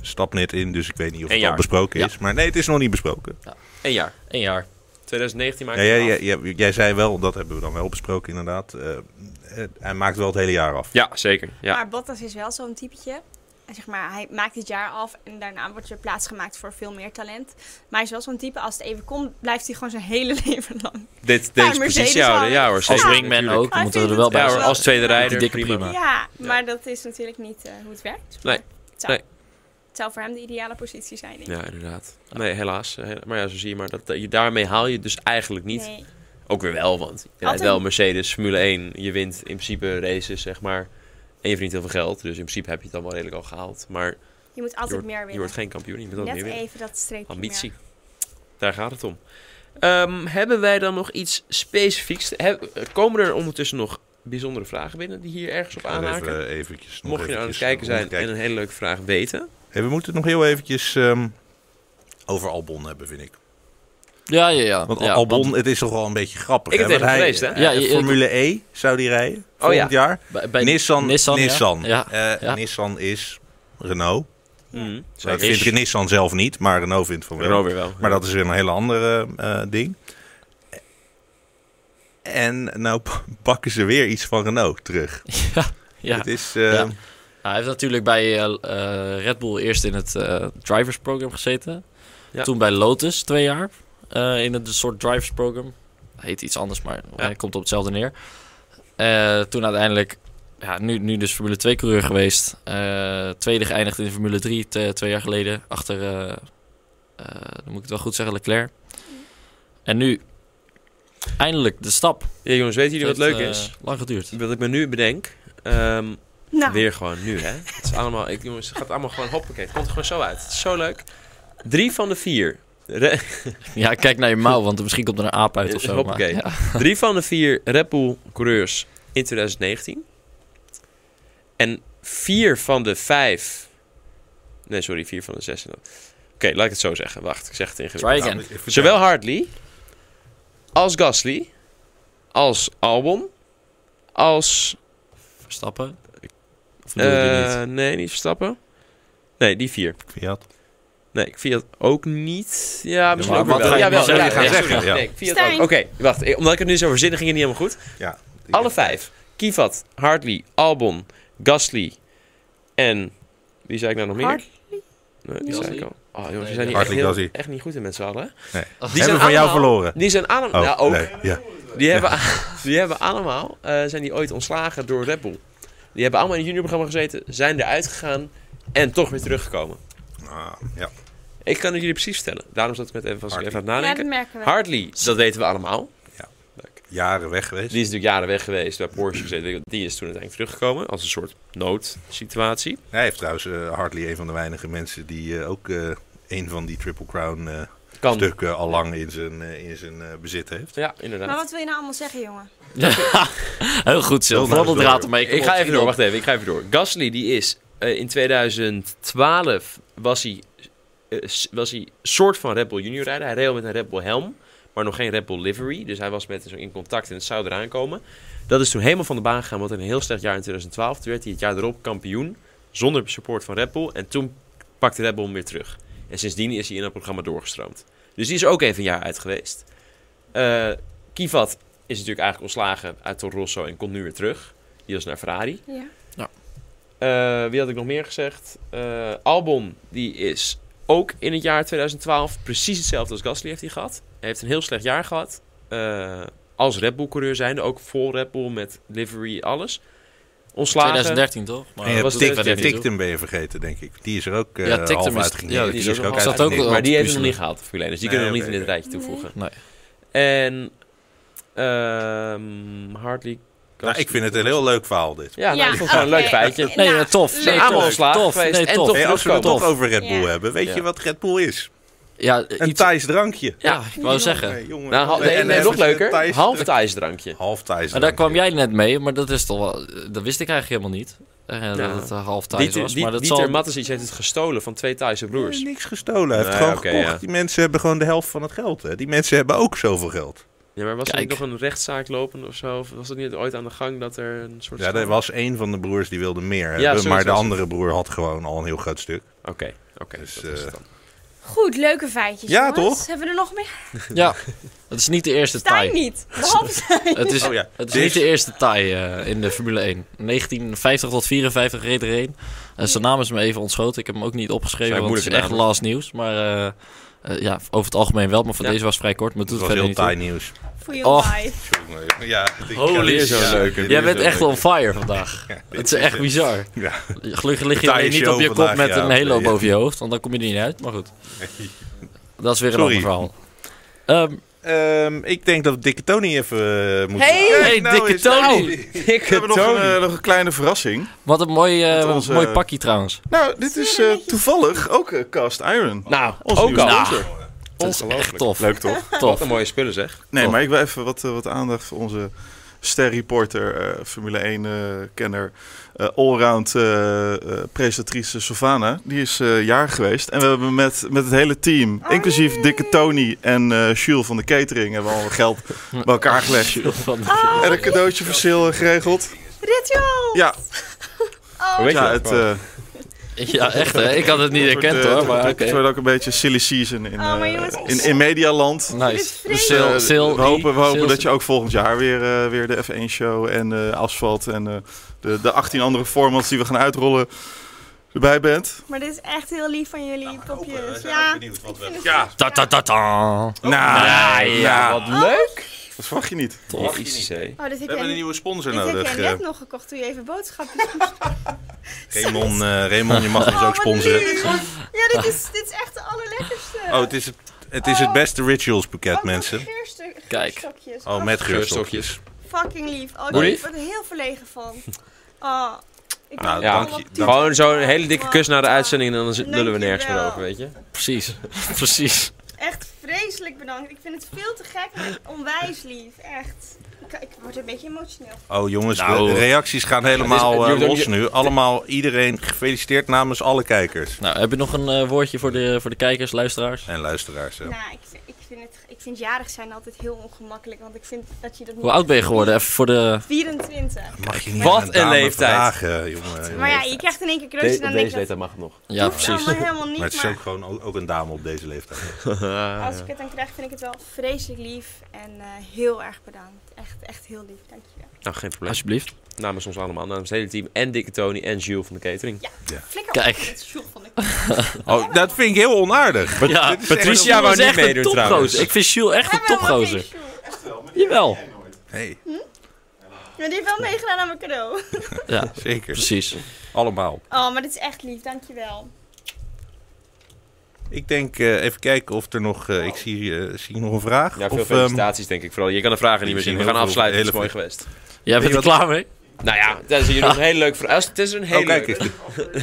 Speaker 2: stap net in, dus ik weet niet of
Speaker 1: Eén
Speaker 2: het al
Speaker 1: jaar.
Speaker 2: besproken
Speaker 3: Ja.
Speaker 2: is. Maar nee, het is nog niet besproken.
Speaker 3: Eén jaar. Eén jaar.
Speaker 1: 2019 maakt
Speaker 2: Ja,
Speaker 1: hij
Speaker 2: jij,
Speaker 1: af.
Speaker 2: jij, jij- jij zei wel, dat hebben we dan wel besproken inderdaad. eh, eh, hij maakt wel het hele jaar af.
Speaker 1: Ja, zeker. Ja.
Speaker 4: Maar Bottas is wel zo'n typetje. En Zeg maar, hij maakt dit jaar af en daarna wordt er plaats gemaakt voor veel meer talent. Maar hij is wel zo'n type, als het even komt, blijft hij gewoon zijn hele leven lang.
Speaker 1: Dit,
Speaker 4: Ja,
Speaker 1: deze positie
Speaker 4: Mercedes
Speaker 1: houden.
Speaker 4: al.
Speaker 1: Ja hoor,
Speaker 3: Als
Speaker 1: zeker.
Speaker 3: wingman
Speaker 1: natuurlijk.
Speaker 3: ook.
Speaker 4: Hij
Speaker 3: Dan moeten we er
Speaker 4: vindt
Speaker 3: wel
Speaker 4: het
Speaker 3: bij
Speaker 1: Ja hoor,
Speaker 3: zijn.
Speaker 4: wel-
Speaker 1: als tweede
Speaker 4: Met die
Speaker 1: rijder.
Speaker 3: dikke
Speaker 1: prima.
Speaker 3: prima.
Speaker 4: Ja,
Speaker 3: Maar-
Speaker 4: maar dat is natuurlijk niet eh, hoe het werkt.
Speaker 1: Nee.
Speaker 4: Het zou,
Speaker 1: Nee.
Speaker 4: het zou voor hem de ideale positie zijn. denk ik.
Speaker 1: Ja, inderdaad. Nee, helaas. Eh, Maar ja, zo zie je maar. Dat, eh, je, daarmee haal je dus eigenlijk niet.
Speaker 4: Nee.
Speaker 1: Ook weer wel, want je rijdt
Speaker 4: Altijd.
Speaker 1: wel Mercedes, Formule 1. Je wint in principe races, zeg maar. En je verdient heel veel geld. Dus in principe heb je het dan wel redelijk al gehaald. Maar
Speaker 4: Je moet altijd meer
Speaker 1: je
Speaker 4: winnen.
Speaker 1: wordt geen kampioen. Je moet altijd
Speaker 4: Net
Speaker 1: meer winnen.
Speaker 4: even dat streepje
Speaker 1: Ambitie.
Speaker 4: meer.
Speaker 1: Daar gaat het om. Ehm, hebben wij dan nog iets specifieks? te- heb- komen er ondertussen nog bijzondere vragen binnen die hier ergens op
Speaker 2: Ik ga er
Speaker 1: aanhaken?
Speaker 2: Even, eventjes, nog
Speaker 1: Mocht je nou aan het
Speaker 2: eventjes eh,
Speaker 1: kijken zijn
Speaker 2: rondkijken.
Speaker 1: en een hele leuke vraag weten.
Speaker 2: Hey, we moeten het nog heel eventjes ehm, over Albon hebben, vind ik.
Speaker 3: Ja, ja, ja.
Speaker 2: Want
Speaker 3: ja,
Speaker 2: Albon,
Speaker 3: want
Speaker 2: het is toch wel een beetje grappig.
Speaker 1: Ik heb
Speaker 2: hè?
Speaker 1: het
Speaker 2: Want
Speaker 1: even
Speaker 2: hij-
Speaker 1: gelezen, hè? Oh
Speaker 3: Ja,
Speaker 2: eh,
Speaker 3: je-
Speaker 2: Formule E zou die rijden
Speaker 1: ja.
Speaker 2: volgend jaar.
Speaker 3: bij, bij
Speaker 2: Nissan, Nissan,
Speaker 3: Nissan, ja. Ja,
Speaker 2: Eh,
Speaker 3: ja.
Speaker 2: Nissan is Renault.
Speaker 1: Mm,
Speaker 2: Dat
Speaker 1: zeker.
Speaker 2: vindt Nissan zelf niet, maar Renault vindt van wel.
Speaker 1: Renault weer wel.
Speaker 2: Maar dat is weer een hele andere eh, ding. En nou p- pakken ze weer iets van Renault terug.
Speaker 3: ja.
Speaker 2: Het is, eh,
Speaker 3: Ja. Ja, hij heeft natuurlijk bij eh, eh, Red Bull eerst in het eh, drivers program gezeten.
Speaker 1: Ja.
Speaker 3: Toen bij Lotus twee jaar eh, in het soort drivers program. Heet iets anders, maar
Speaker 1: Ja.
Speaker 3: hij komt op hetzelfde neer. Eh, toen uiteindelijk, ja, nu, nu dus Formule 2 coureur geweest. Eh, tweede geëindigd in Formule 3 te- twee jaar geleden. Achter, eh, eh, dan moet ik het wel goed zeggen, Leclerc. En nu eindelijk de stap.
Speaker 1: Ja, jongens, weten jullie wat
Speaker 3: Het
Speaker 1: leuk
Speaker 3: heeft,
Speaker 1: is?
Speaker 3: eh, lang geduurd.
Speaker 1: Wat ik me nu bedenk. ehm,
Speaker 4: Nou,
Speaker 1: Weer gewoon nu, hè? Het is allemaal, ik, jongens, het gaat allemaal gewoon hoppakee. Het komt er gewoon zo uit. Het is zo leuk. Drie van de vier. Re-
Speaker 3: Ja, kijk naar je mouw, want misschien komt er een aap uit of zo. maar-
Speaker 1: Hoppakee.
Speaker 3: ja.
Speaker 1: drie van de vier Red Bull coureurs in 2019. En vier van de vijf. Nee, sorry, vier van de zes. Oké, laat ik het zo zeggen. Wacht, ik zeg het ingewikkeld.
Speaker 3: Try
Speaker 2: nou,
Speaker 3: again.
Speaker 2: ik- ik-
Speaker 1: Zowel Hartley als Gasly, als Albon, als.
Speaker 3: Verstappen? Of bedoel je die
Speaker 1: eh,
Speaker 3: niet?
Speaker 1: Nee, niet Verstappen. Nee, die vier.
Speaker 2: Fiat.
Speaker 1: Nee, ik Fiat ook niet. Ja, misschien
Speaker 2: maar
Speaker 1: ook wel.
Speaker 2: wat ga je-
Speaker 1: ja,
Speaker 2: wat
Speaker 1: wel.
Speaker 2: zou je
Speaker 1: ja,
Speaker 2: gaan
Speaker 1: ja,
Speaker 2: zeggen?
Speaker 1: sorry.
Speaker 2: Ja.
Speaker 1: Nee, Fiat ook.
Speaker 4: Stijn.
Speaker 1: Oké, wacht. ik- Omdat ik het nu zo verzin, ging het niet helemaal goed.
Speaker 2: Ja.
Speaker 1: Alle vijf. Kivat, Hartley, Albon, Gasly en... Wie zei ik nou nog meer?
Speaker 4: Hard-
Speaker 1: Nee, die
Speaker 3: Gasly.
Speaker 1: zei ik al. Oh jongens, we
Speaker 3: Nee,
Speaker 1: zijn hier echt,
Speaker 2: Hartley,
Speaker 1: heel,
Speaker 2: Gasly.
Speaker 1: echt niet goed in met z'n allen. hè?
Speaker 2: Nee.
Speaker 3: Die
Speaker 2: Die hebben we van jou
Speaker 1: allemaal-
Speaker 2: verloren.
Speaker 1: Die zijn allemaal... ja, ook.
Speaker 2: Oh, nee, ja.
Speaker 1: Die, hebben, die hebben allemaal... eh, zijn die ooit ontslagen door Red Bull. Die hebben allemaal in het juniorprogramma gezeten, zijn eruit gegaan en toch weer teruggekomen.
Speaker 2: Ah, ja.
Speaker 1: Ik kan het jullie precies vertellen. Daarom zat ik net even, was ik
Speaker 2: Hartley.
Speaker 1: even aan het
Speaker 4: Ja,
Speaker 1: nadenken.
Speaker 4: dat merken we.
Speaker 1: Hartley, dat weten we allemaal.
Speaker 2: Jaren weg geweest.
Speaker 1: Die is natuurlijk jaren weg geweest, bij Porsche gezeten. Die is toen uiteindelijk teruggekomen als een soort noodsituatie.
Speaker 2: Hij heeft trouwens eh, Hartley een van de weinige mensen die eh, ook eh, een van die Triple Crown eh,
Speaker 1: Kan.
Speaker 2: stukken al lang in zijn, eh, in zijn eh, bezit heeft.
Speaker 1: Ja,
Speaker 4: Maar
Speaker 1: inderdaad.
Speaker 4: wat wil je nou allemaal zeggen, jongen?
Speaker 3: Heel goed, Sil.
Speaker 2: Heel
Speaker 3: Vooral
Speaker 2: nice
Speaker 3: de draad
Speaker 2: door,
Speaker 3: ermee.
Speaker 1: Ik ga even door, wacht even. Ik ga even door. Gasly, die is eh, in 2012 was hij, eh, s- was hij soort van Red Bull junior rijder. Hij reed al met een Red Bull helm, maar nog geen Red Bull livery. Dus hij was met zo in contact en het zou eraan komen. Dat is toen helemaal van de baan gegaan, want in een heel slecht jaar in 2012 toen werd hij het jaar erop kampioen zonder support van Red Bull. En toen pakte Red Bull hem weer terug. En sindsdien is hij in dat programma doorgestroomd. Dus die is er ook even een jaar uit geweest. Eh Kivat is natuurlijk eigenlijk ontslagen uit Toro Rosso en komt nu weer terug. Die was naar Ferrari.
Speaker 4: Ja.
Speaker 1: Eh, wie had ik nog meer gezegd? Eh, Albon, die is ook in het jaar 2012 precies hetzelfde als Gasly heeft hij gehad. Hij heeft een heel slecht jaar gehad. eh, als Red Bull coureur zijnde, ook vol Red Bull met livery, alles. Ontslagen.
Speaker 3: 2013,
Speaker 2: En
Speaker 3: toch?
Speaker 2: je
Speaker 1: was dat
Speaker 2: hebt
Speaker 3: dat
Speaker 1: Tik- weet
Speaker 3: doet
Speaker 1: ik
Speaker 2: Tick-
Speaker 3: verder niet toe.
Speaker 2: Tickton ben je vergeten, denk ik. Die is er ook eh
Speaker 3: Ja,
Speaker 2: ja,
Speaker 3: Tickton
Speaker 2: half
Speaker 3: is-
Speaker 2: uitgegaan.
Speaker 3: ja,
Speaker 2: die,
Speaker 1: die
Speaker 2: is
Speaker 1: is
Speaker 2: er
Speaker 1: ook
Speaker 2: ook
Speaker 1: half-
Speaker 2: uit.
Speaker 3: zat ook
Speaker 2: Nee,
Speaker 3: al-
Speaker 1: Maar die heeft
Speaker 3: puzzelen.
Speaker 1: hem nog niet gehaald, de Formule 1. Dus die kunnen we
Speaker 2: Nee,
Speaker 1: nog niet in
Speaker 2: oké,
Speaker 1: dit rijtje toevoegen.
Speaker 3: Nee.
Speaker 1: En ehm Hartley...
Speaker 2: nou, ik vind het een heel leuk verhaal, dit.
Speaker 1: Ja, nou,
Speaker 4: Ja,
Speaker 1: ik vond het gewoon een leuk
Speaker 4: oké.
Speaker 1: feitje.
Speaker 4: Nou,
Speaker 3: Nee, eh, tof.
Speaker 1: Ze
Speaker 4: leuk.
Speaker 1: zijn
Speaker 3: Nee,
Speaker 1: allemaal
Speaker 3: tof.
Speaker 1: ontslagen
Speaker 3: tof.
Speaker 1: geweest
Speaker 3: Nee,
Speaker 1: en
Speaker 3: tof.
Speaker 1: toch
Speaker 2: Hey, als we het
Speaker 1: terugkomen.
Speaker 2: toch over Red Bull
Speaker 4: Ja.
Speaker 2: hebben, weet
Speaker 1: Ja.
Speaker 2: je wat Red Bull is?
Speaker 3: Ja,
Speaker 2: Een
Speaker 3: iets-
Speaker 2: Thais drankje.
Speaker 3: ja, ik wou zeggen.
Speaker 2: Jongen, jongen.
Speaker 1: Nou, hal-
Speaker 2: En
Speaker 1: nee,
Speaker 2: dan
Speaker 1: nee, nog
Speaker 2: hebben ze een
Speaker 1: leuker.
Speaker 2: Thais
Speaker 1: Half
Speaker 2: drank-
Speaker 1: Thais drankje.
Speaker 2: Half Thais
Speaker 3: Maar daar
Speaker 2: drankje.
Speaker 3: kwam jij net mee, maar dat is toch wel... Dat wist ik eigenlijk helemaal niet. Eh,
Speaker 1: Ja.
Speaker 3: Dat het eh, half tijd
Speaker 1: Dieter,
Speaker 3: was. Maar dat
Speaker 1: Dieter
Speaker 3: zal...
Speaker 1: Mattesic heeft het gestolen van twee Thaise
Speaker 2: Nee,
Speaker 1: broers.
Speaker 2: niks gestolen. Hij heeft
Speaker 1: Nee,
Speaker 2: gewoon
Speaker 1: oké,
Speaker 2: gekocht.
Speaker 1: ja.
Speaker 2: Die mensen hebben gewoon de helft van het geld. Hè. Die mensen hebben ook zoveel geld.
Speaker 1: Ja, maar was er
Speaker 3: Kijk.
Speaker 1: niet nog een rechtszaak lopend of zo? Of was het niet ooit aan de gang dat er een soort...
Speaker 2: Ja, er was één van de broers die wilde meer hebben,
Speaker 1: zoiets
Speaker 2: maar de
Speaker 1: was het.
Speaker 2: andere broer had gewoon al een heel groot stuk.
Speaker 1: Oké, oké.
Speaker 2: Dus,
Speaker 1: dat is het
Speaker 2: eh,
Speaker 1: dan.
Speaker 4: Goed, leuke feitjes.
Speaker 2: Ja,
Speaker 4: jongens.
Speaker 2: toch?
Speaker 4: Hebben we er nog meer?
Speaker 3: Ja, het is niet de eerste
Speaker 4: Stijn
Speaker 3: tie.
Speaker 4: niet. Behalve Stijn.
Speaker 3: Het is,
Speaker 2: Oh ja,
Speaker 3: het is
Speaker 2: dit-
Speaker 3: niet de eerste tie eh, in de Formule 1. 1950 tot 54 reed er één. Eh, zijn naam is me even ontschoten. Ik heb hem ook niet opgeschreven,
Speaker 1: Zijn
Speaker 3: want het is echt
Speaker 1: moeilijke namen.
Speaker 3: last nieuws. Maar eh, eh, ja, over het algemeen wel. Maar van
Speaker 1: Ja.
Speaker 3: deze was vrij kort, maar het
Speaker 2: Dat
Speaker 3: doet
Speaker 2: was
Speaker 3: verder
Speaker 2: heel
Speaker 3: niet toe.
Speaker 2: taai nieuws.
Speaker 4: Voor je
Speaker 3: Och.
Speaker 4: life.
Speaker 2: Jongen, Ja, dit-
Speaker 3: Holy
Speaker 2: ja, dit-
Speaker 1: shit.
Speaker 2: ja,
Speaker 1: Leuk, hè?
Speaker 2: dit
Speaker 3: Jij
Speaker 2: is
Speaker 3: bent
Speaker 2: wel
Speaker 3: echt
Speaker 2: leuk.
Speaker 3: on fire vandaag.
Speaker 2: Dit
Speaker 3: Het is echt bizar.
Speaker 2: Ja.
Speaker 3: Gelukkig lig je
Speaker 2: Taaie
Speaker 3: alleen niet
Speaker 2: show
Speaker 3: op je kop
Speaker 2: vandaag,
Speaker 3: met
Speaker 2: ja.
Speaker 3: een halo
Speaker 2: Ja.
Speaker 3: boven je hoofd, want dan kom je er niet uit. Maar goed, dat is weer een
Speaker 2: Sorry.
Speaker 3: ander verhaal. Ehm,
Speaker 2: Ehm, ik denk dat we Dikke Tony even eh, moeten...
Speaker 3: Hey, hey, dikke
Speaker 2: is- Nou,
Speaker 3: Tony.
Speaker 5: We hebben nog een, eh, nog een kleine verrassing.
Speaker 3: wat een mooi, eh,
Speaker 5: Met
Speaker 3: wat
Speaker 5: onze-
Speaker 3: een mooi pakje trouwens.
Speaker 5: Nou, dit is eh, toevallig ook eh, Cast Iron.
Speaker 1: Nou,
Speaker 5: Onze
Speaker 1: ook
Speaker 5: nieuwe
Speaker 1: al.
Speaker 5: sponsor.
Speaker 3: Dat is echt
Speaker 1: Ongelooflijk.
Speaker 3: tof.
Speaker 5: Leuk toch?
Speaker 1: Wat
Speaker 3: tof.
Speaker 1: een mooie spullen zeg.
Speaker 5: Nee,
Speaker 3: Tof.
Speaker 5: maar ik wil even wat, eh, wat aandacht voor onze sterreporter, eh Formule 1-kenner, allround eh, eh, presentatrice Sylvana. Die is eh jaar geweest. En we hebben met, met het hele team,
Speaker 4: Oh,
Speaker 5: inclusief
Speaker 4: nee.
Speaker 5: Dikke Tony en eh Jules van de catering, hebben we al wat geld bij elkaar gelegd.
Speaker 3: Van-
Speaker 4: Ah. Oh,
Speaker 5: En een cadeautje voor Sil eh, geregeld.
Speaker 4: Ritual.
Speaker 5: Ja,
Speaker 1: Hoe weet je
Speaker 5: ja
Speaker 1: dat?
Speaker 5: het... eh,
Speaker 3: Ja, echt hè. Ik had het niet
Speaker 5: Het wordt,
Speaker 3: herkend
Speaker 5: eh,
Speaker 3: hoor, maar
Speaker 5: Het
Speaker 3: oké.
Speaker 5: wordt ook een beetje silly season in,
Speaker 4: Oh, maar
Speaker 5: eh,
Speaker 4: jongens,
Speaker 5: in, in medialand.
Speaker 3: Nice.
Speaker 4: Dit is
Speaker 5: Eh,
Speaker 3: Sil- Dus, Sil-
Speaker 5: we hopen, we
Speaker 3: Sil-
Speaker 5: hopen dat je ook volgend jaar weer, eh, weer de F1-show en eh, Asfalt en eh, de, de 18 andere formats die we gaan uitrollen erbij bent.
Speaker 4: Maar dit is echt heel lief van
Speaker 2: Nou,
Speaker 4: jullie, popjes.
Speaker 2: Ja.
Speaker 4: Ja.
Speaker 2: Ja.
Speaker 3: Ta ta ta ta.
Speaker 5: nou,
Speaker 3: Ah, ja, wat leuk.
Speaker 5: dat verwacht je niet.
Speaker 3: Tof.
Speaker 1: Jezus, hé.
Speaker 4: Oh, dit
Speaker 2: We
Speaker 4: heb
Speaker 2: hebben een
Speaker 4: jij,
Speaker 2: nieuwe eh. sponsor
Speaker 4: dit heb
Speaker 2: nodig.
Speaker 4: jij net nog gekocht toen je even boodschapjes moest
Speaker 2: eh, Raymond, eh, Raymond, je
Speaker 4: Oh,
Speaker 2: mag ons ook sponsoren.
Speaker 4: Ja, dit is, dit is echt de allerlekkerste.
Speaker 2: Oh, het is het, het, is het beste rituals pakket,
Speaker 4: Ook nog
Speaker 2: mensen.
Speaker 4: geurstu-
Speaker 3: Kijk.
Speaker 4: geurstokjes.
Speaker 2: Oh, met
Speaker 1: Geurstokjes.
Speaker 2: geurstokjes.
Speaker 4: Fucking lief. Oh,
Speaker 3: Hoe
Speaker 4: ik
Speaker 3: lief?
Speaker 4: word er heel verlegen van. Oh, ik
Speaker 1: dank
Speaker 2: Nou,
Speaker 4: ben wel
Speaker 2: je-
Speaker 4: wat
Speaker 2: dank-
Speaker 4: toe.
Speaker 1: Gewoon zo'n hele dikke kus naar de
Speaker 4: Ja.
Speaker 1: uitzending en dan lullen we nergens meer
Speaker 4: Dankjewel.
Speaker 1: over, weet je.
Speaker 3: Precies. Precies.
Speaker 4: Echt vreselijk bedankt. Ik vind het veel te gek, maar onwijs lief. Echt. Ik, ik word een beetje emotioneel.
Speaker 2: Oh jongens,
Speaker 3: Nou.
Speaker 2: de reacties gaan
Speaker 1: Het
Speaker 2: helemaal
Speaker 1: is-
Speaker 2: eh,
Speaker 1: je- je-
Speaker 2: los nu. Allemaal, iedereen gefeliciteerd namens alle kijkers
Speaker 3: Nou, heb je nog een eh, woordje voor de, voor de kijkers, luisteraars?
Speaker 2: en luisteraars. eh.
Speaker 4: Nou, ik, ik, vind het, ik vind jarig zijn altijd heel ongemakkelijk, want ik vind dat je dat niet...
Speaker 3: Hoe oud ben je geworden? Even voor de...
Speaker 4: 24.
Speaker 2: Mag je niet
Speaker 1: Wat
Speaker 2: aan
Speaker 1: een
Speaker 2: dame
Speaker 1: leeftijd.
Speaker 2: vragen, jongen.
Speaker 4: Maar ja, je krijgt in één keer
Speaker 1: De-
Speaker 4: kruisjes en dan denk je dat...
Speaker 1: mag het nog.
Speaker 3: Ja,
Speaker 4: hoeft
Speaker 3: precies.
Speaker 4: allemaal helemaal niet,
Speaker 2: Maar
Speaker 4: maar,
Speaker 2: het is ook gewoon ook, ook een dame op deze leeftijd.
Speaker 4: als ik het dan krijg, vind ik het wel vreselijk lief. En eh, heel erg bedankt. Echt, echt heel lief. Dankjewel.
Speaker 1: Nou, geen probleem.
Speaker 3: Alsjeblieft.
Speaker 1: Namens ons allemaal, namens het hele team en Dikke Tony en Jules van de catering.
Speaker 4: Flikker
Speaker 3: Kijk.
Speaker 4: op met Sjoel van de Kok.
Speaker 2: Oh, dat vind ik heel onaardig.
Speaker 3: Ja,
Speaker 2: is
Speaker 1: Patricia
Speaker 3: Jules
Speaker 1: wou
Speaker 3: is
Speaker 1: niet
Speaker 3: echt een
Speaker 1: meedoen
Speaker 3: topgozer.
Speaker 1: trouwens.
Speaker 3: Ik vind Jules echt een
Speaker 4: Hebben we wel
Speaker 3: topgozer.
Speaker 4: geen Sjoel?
Speaker 3: Jawel.
Speaker 2: Hey,
Speaker 4: Maar die heeft wel meegedaan aan mijn cadeau.
Speaker 3: Ja,
Speaker 2: zeker.
Speaker 3: precies.
Speaker 2: Allemaal.
Speaker 4: Oh, maar dit is echt lief. Dankjewel.
Speaker 2: Ik denk, eh, even kijken of er nog... eh, ik zie, eh, zie ik nog een vraag.
Speaker 1: Ja, veel
Speaker 2: of, ehm,
Speaker 1: felicitaties denk ik vooral. Je kan de vragen niet meer
Speaker 2: Ik zie
Speaker 1: zien. We
Speaker 2: heel
Speaker 1: gaan
Speaker 2: veel-
Speaker 1: afsluiten. Het is
Speaker 2: hele
Speaker 1: mooi geweest.
Speaker 3: Jij bent er klaar mee?
Speaker 1: Nou ja, daar is hier nog een hele leuke vraag. Het is een hele
Speaker 2: oh, kijk
Speaker 1: leuke.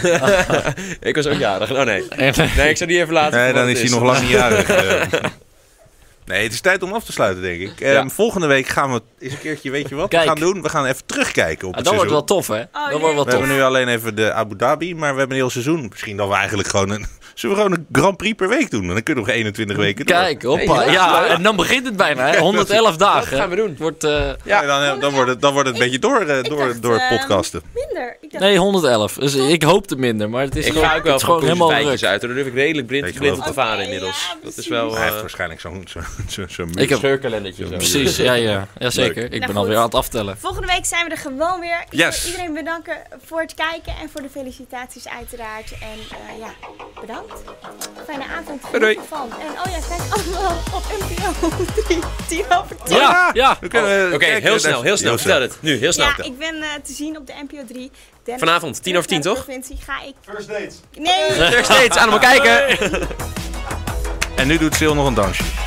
Speaker 2: eens.
Speaker 1: Ik was ook jarig. Oh nee.
Speaker 3: eh,
Speaker 1: Nee, ik zou die even laten.
Speaker 2: Nee,
Speaker 1: voor
Speaker 2: dan
Speaker 1: wat
Speaker 2: is
Speaker 1: het
Speaker 2: hij nog lang niet jarig. eh. Nee, het is tijd om af te sluiten, denk ik. Ehm,
Speaker 1: Ja.
Speaker 2: Volgende week gaan we eens een keertje, weet je wat
Speaker 3: Kijk.
Speaker 2: we gaan doen? We gaan even terugkijken op
Speaker 3: Ah,
Speaker 2: het
Speaker 3: dat wordt
Speaker 2: seizoen.
Speaker 3: wel tof, hè?
Speaker 4: Oh,
Speaker 3: Dat wordt wel
Speaker 2: we
Speaker 3: tof.
Speaker 2: hebben nu alleen even de Abu Dhabi, maar we hebben een heel seizoen. Misschien dat we eigenlijk gewoon een... Zullen we gewoon een Grand Prix per week doen? Dan kunnen we nog 21 weken door.
Speaker 3: Kijk, hoppa.
Speaker 1: Hey, ja.
Speaker 3: Ja, en dan begint het bijna, hè? 111
Speaker 1: Dat
Speaker 3: dagen.
Speaker 1: gaan we doen.
Speaker 3: Wordt, eh,
Speaker 2: Ja, dan, dan, wordt het, dan wordt het een beetje door, eh, door,
Speaker 4: dacht,
Speaker 2: door het
Speaker 4: ehm,
Speaker 2: podcasten.
Speaker 4: Minder. Ik dacht,
Speaker 3: nee, 111. Dus ik hoopte minder, maar het is
Speaker 1: Ik
Speaker 3: gewoon,
Speaker 1: ga ook wel
Speaker 3: het is gewoon
Speaker 1: van
Speaker 3: helemaal
Speaker 1: helemaal
Speaker 3: druk.
Speaker 1: uit. Daar durf ik redelijk blind,
Speaker 2: Ik
Speaker 1: blind op
Speaker 2: geloof
Speaker 1: te
Speaker 4: het.
Speaker 1: varen
Speaker 4: Oké,
Speaker 1: inmiddels.
Speaker 4: ja,
Speaker 1: dat is
Speaker 4: precies.
Speaker 1: wel
Speaker 2: Hij heeft
Speaker 1: eh
Speaker 2: waarschijnlijk zo'n zo, zo, zo
Speaker 3: Ik heb-
Speaker 1: scheurkalendertje. of zo.
Speaker 3: Precies, ja, ja. Jazeker. Ik
Speaker 4: Nou,
Speaker 3: ben
Speaker 4: goed.
Speaker 3: alweer aan het aftellen.
Speaker 4: volgende week zijn we er gewoon weer. Ik
Speaker 2: Yes.
Speaker 4: wil iedereen bedanken voor het kijken en voor de felicitaties uiteraard. En eh, ja, bedankt. Fijne avond. Geniet
Speaker 1: doei.
Speaker 4: ervan. En oh ja, kijk allemaal op NPO 3. 10 over 10.
Speaker 3: Ja,
Speaker 2: Ja.
Speaker 3: ja.
Speaker 2: We kunnen, eh,
Speaker 1: Oké,
Speaker 2: kijken
Speaker 1: heel
Speaker 2: naar-
Speaker 1: snel, heel snel. Vertel het. Nu, heel snel.
Speaker 4: Ja, ik ben eh, te zien op de NPO 3. Den-
Speaker 1: Vanavond, tien over tien,
Speaker 4: naar de
Speaker 1: toch?
Speaker 4: provincie ga ik... First dates. Nee.
Speaker 1: Nog steeds aan hem kijken.
Speaker 2: En nu doet Sil nog een dansje.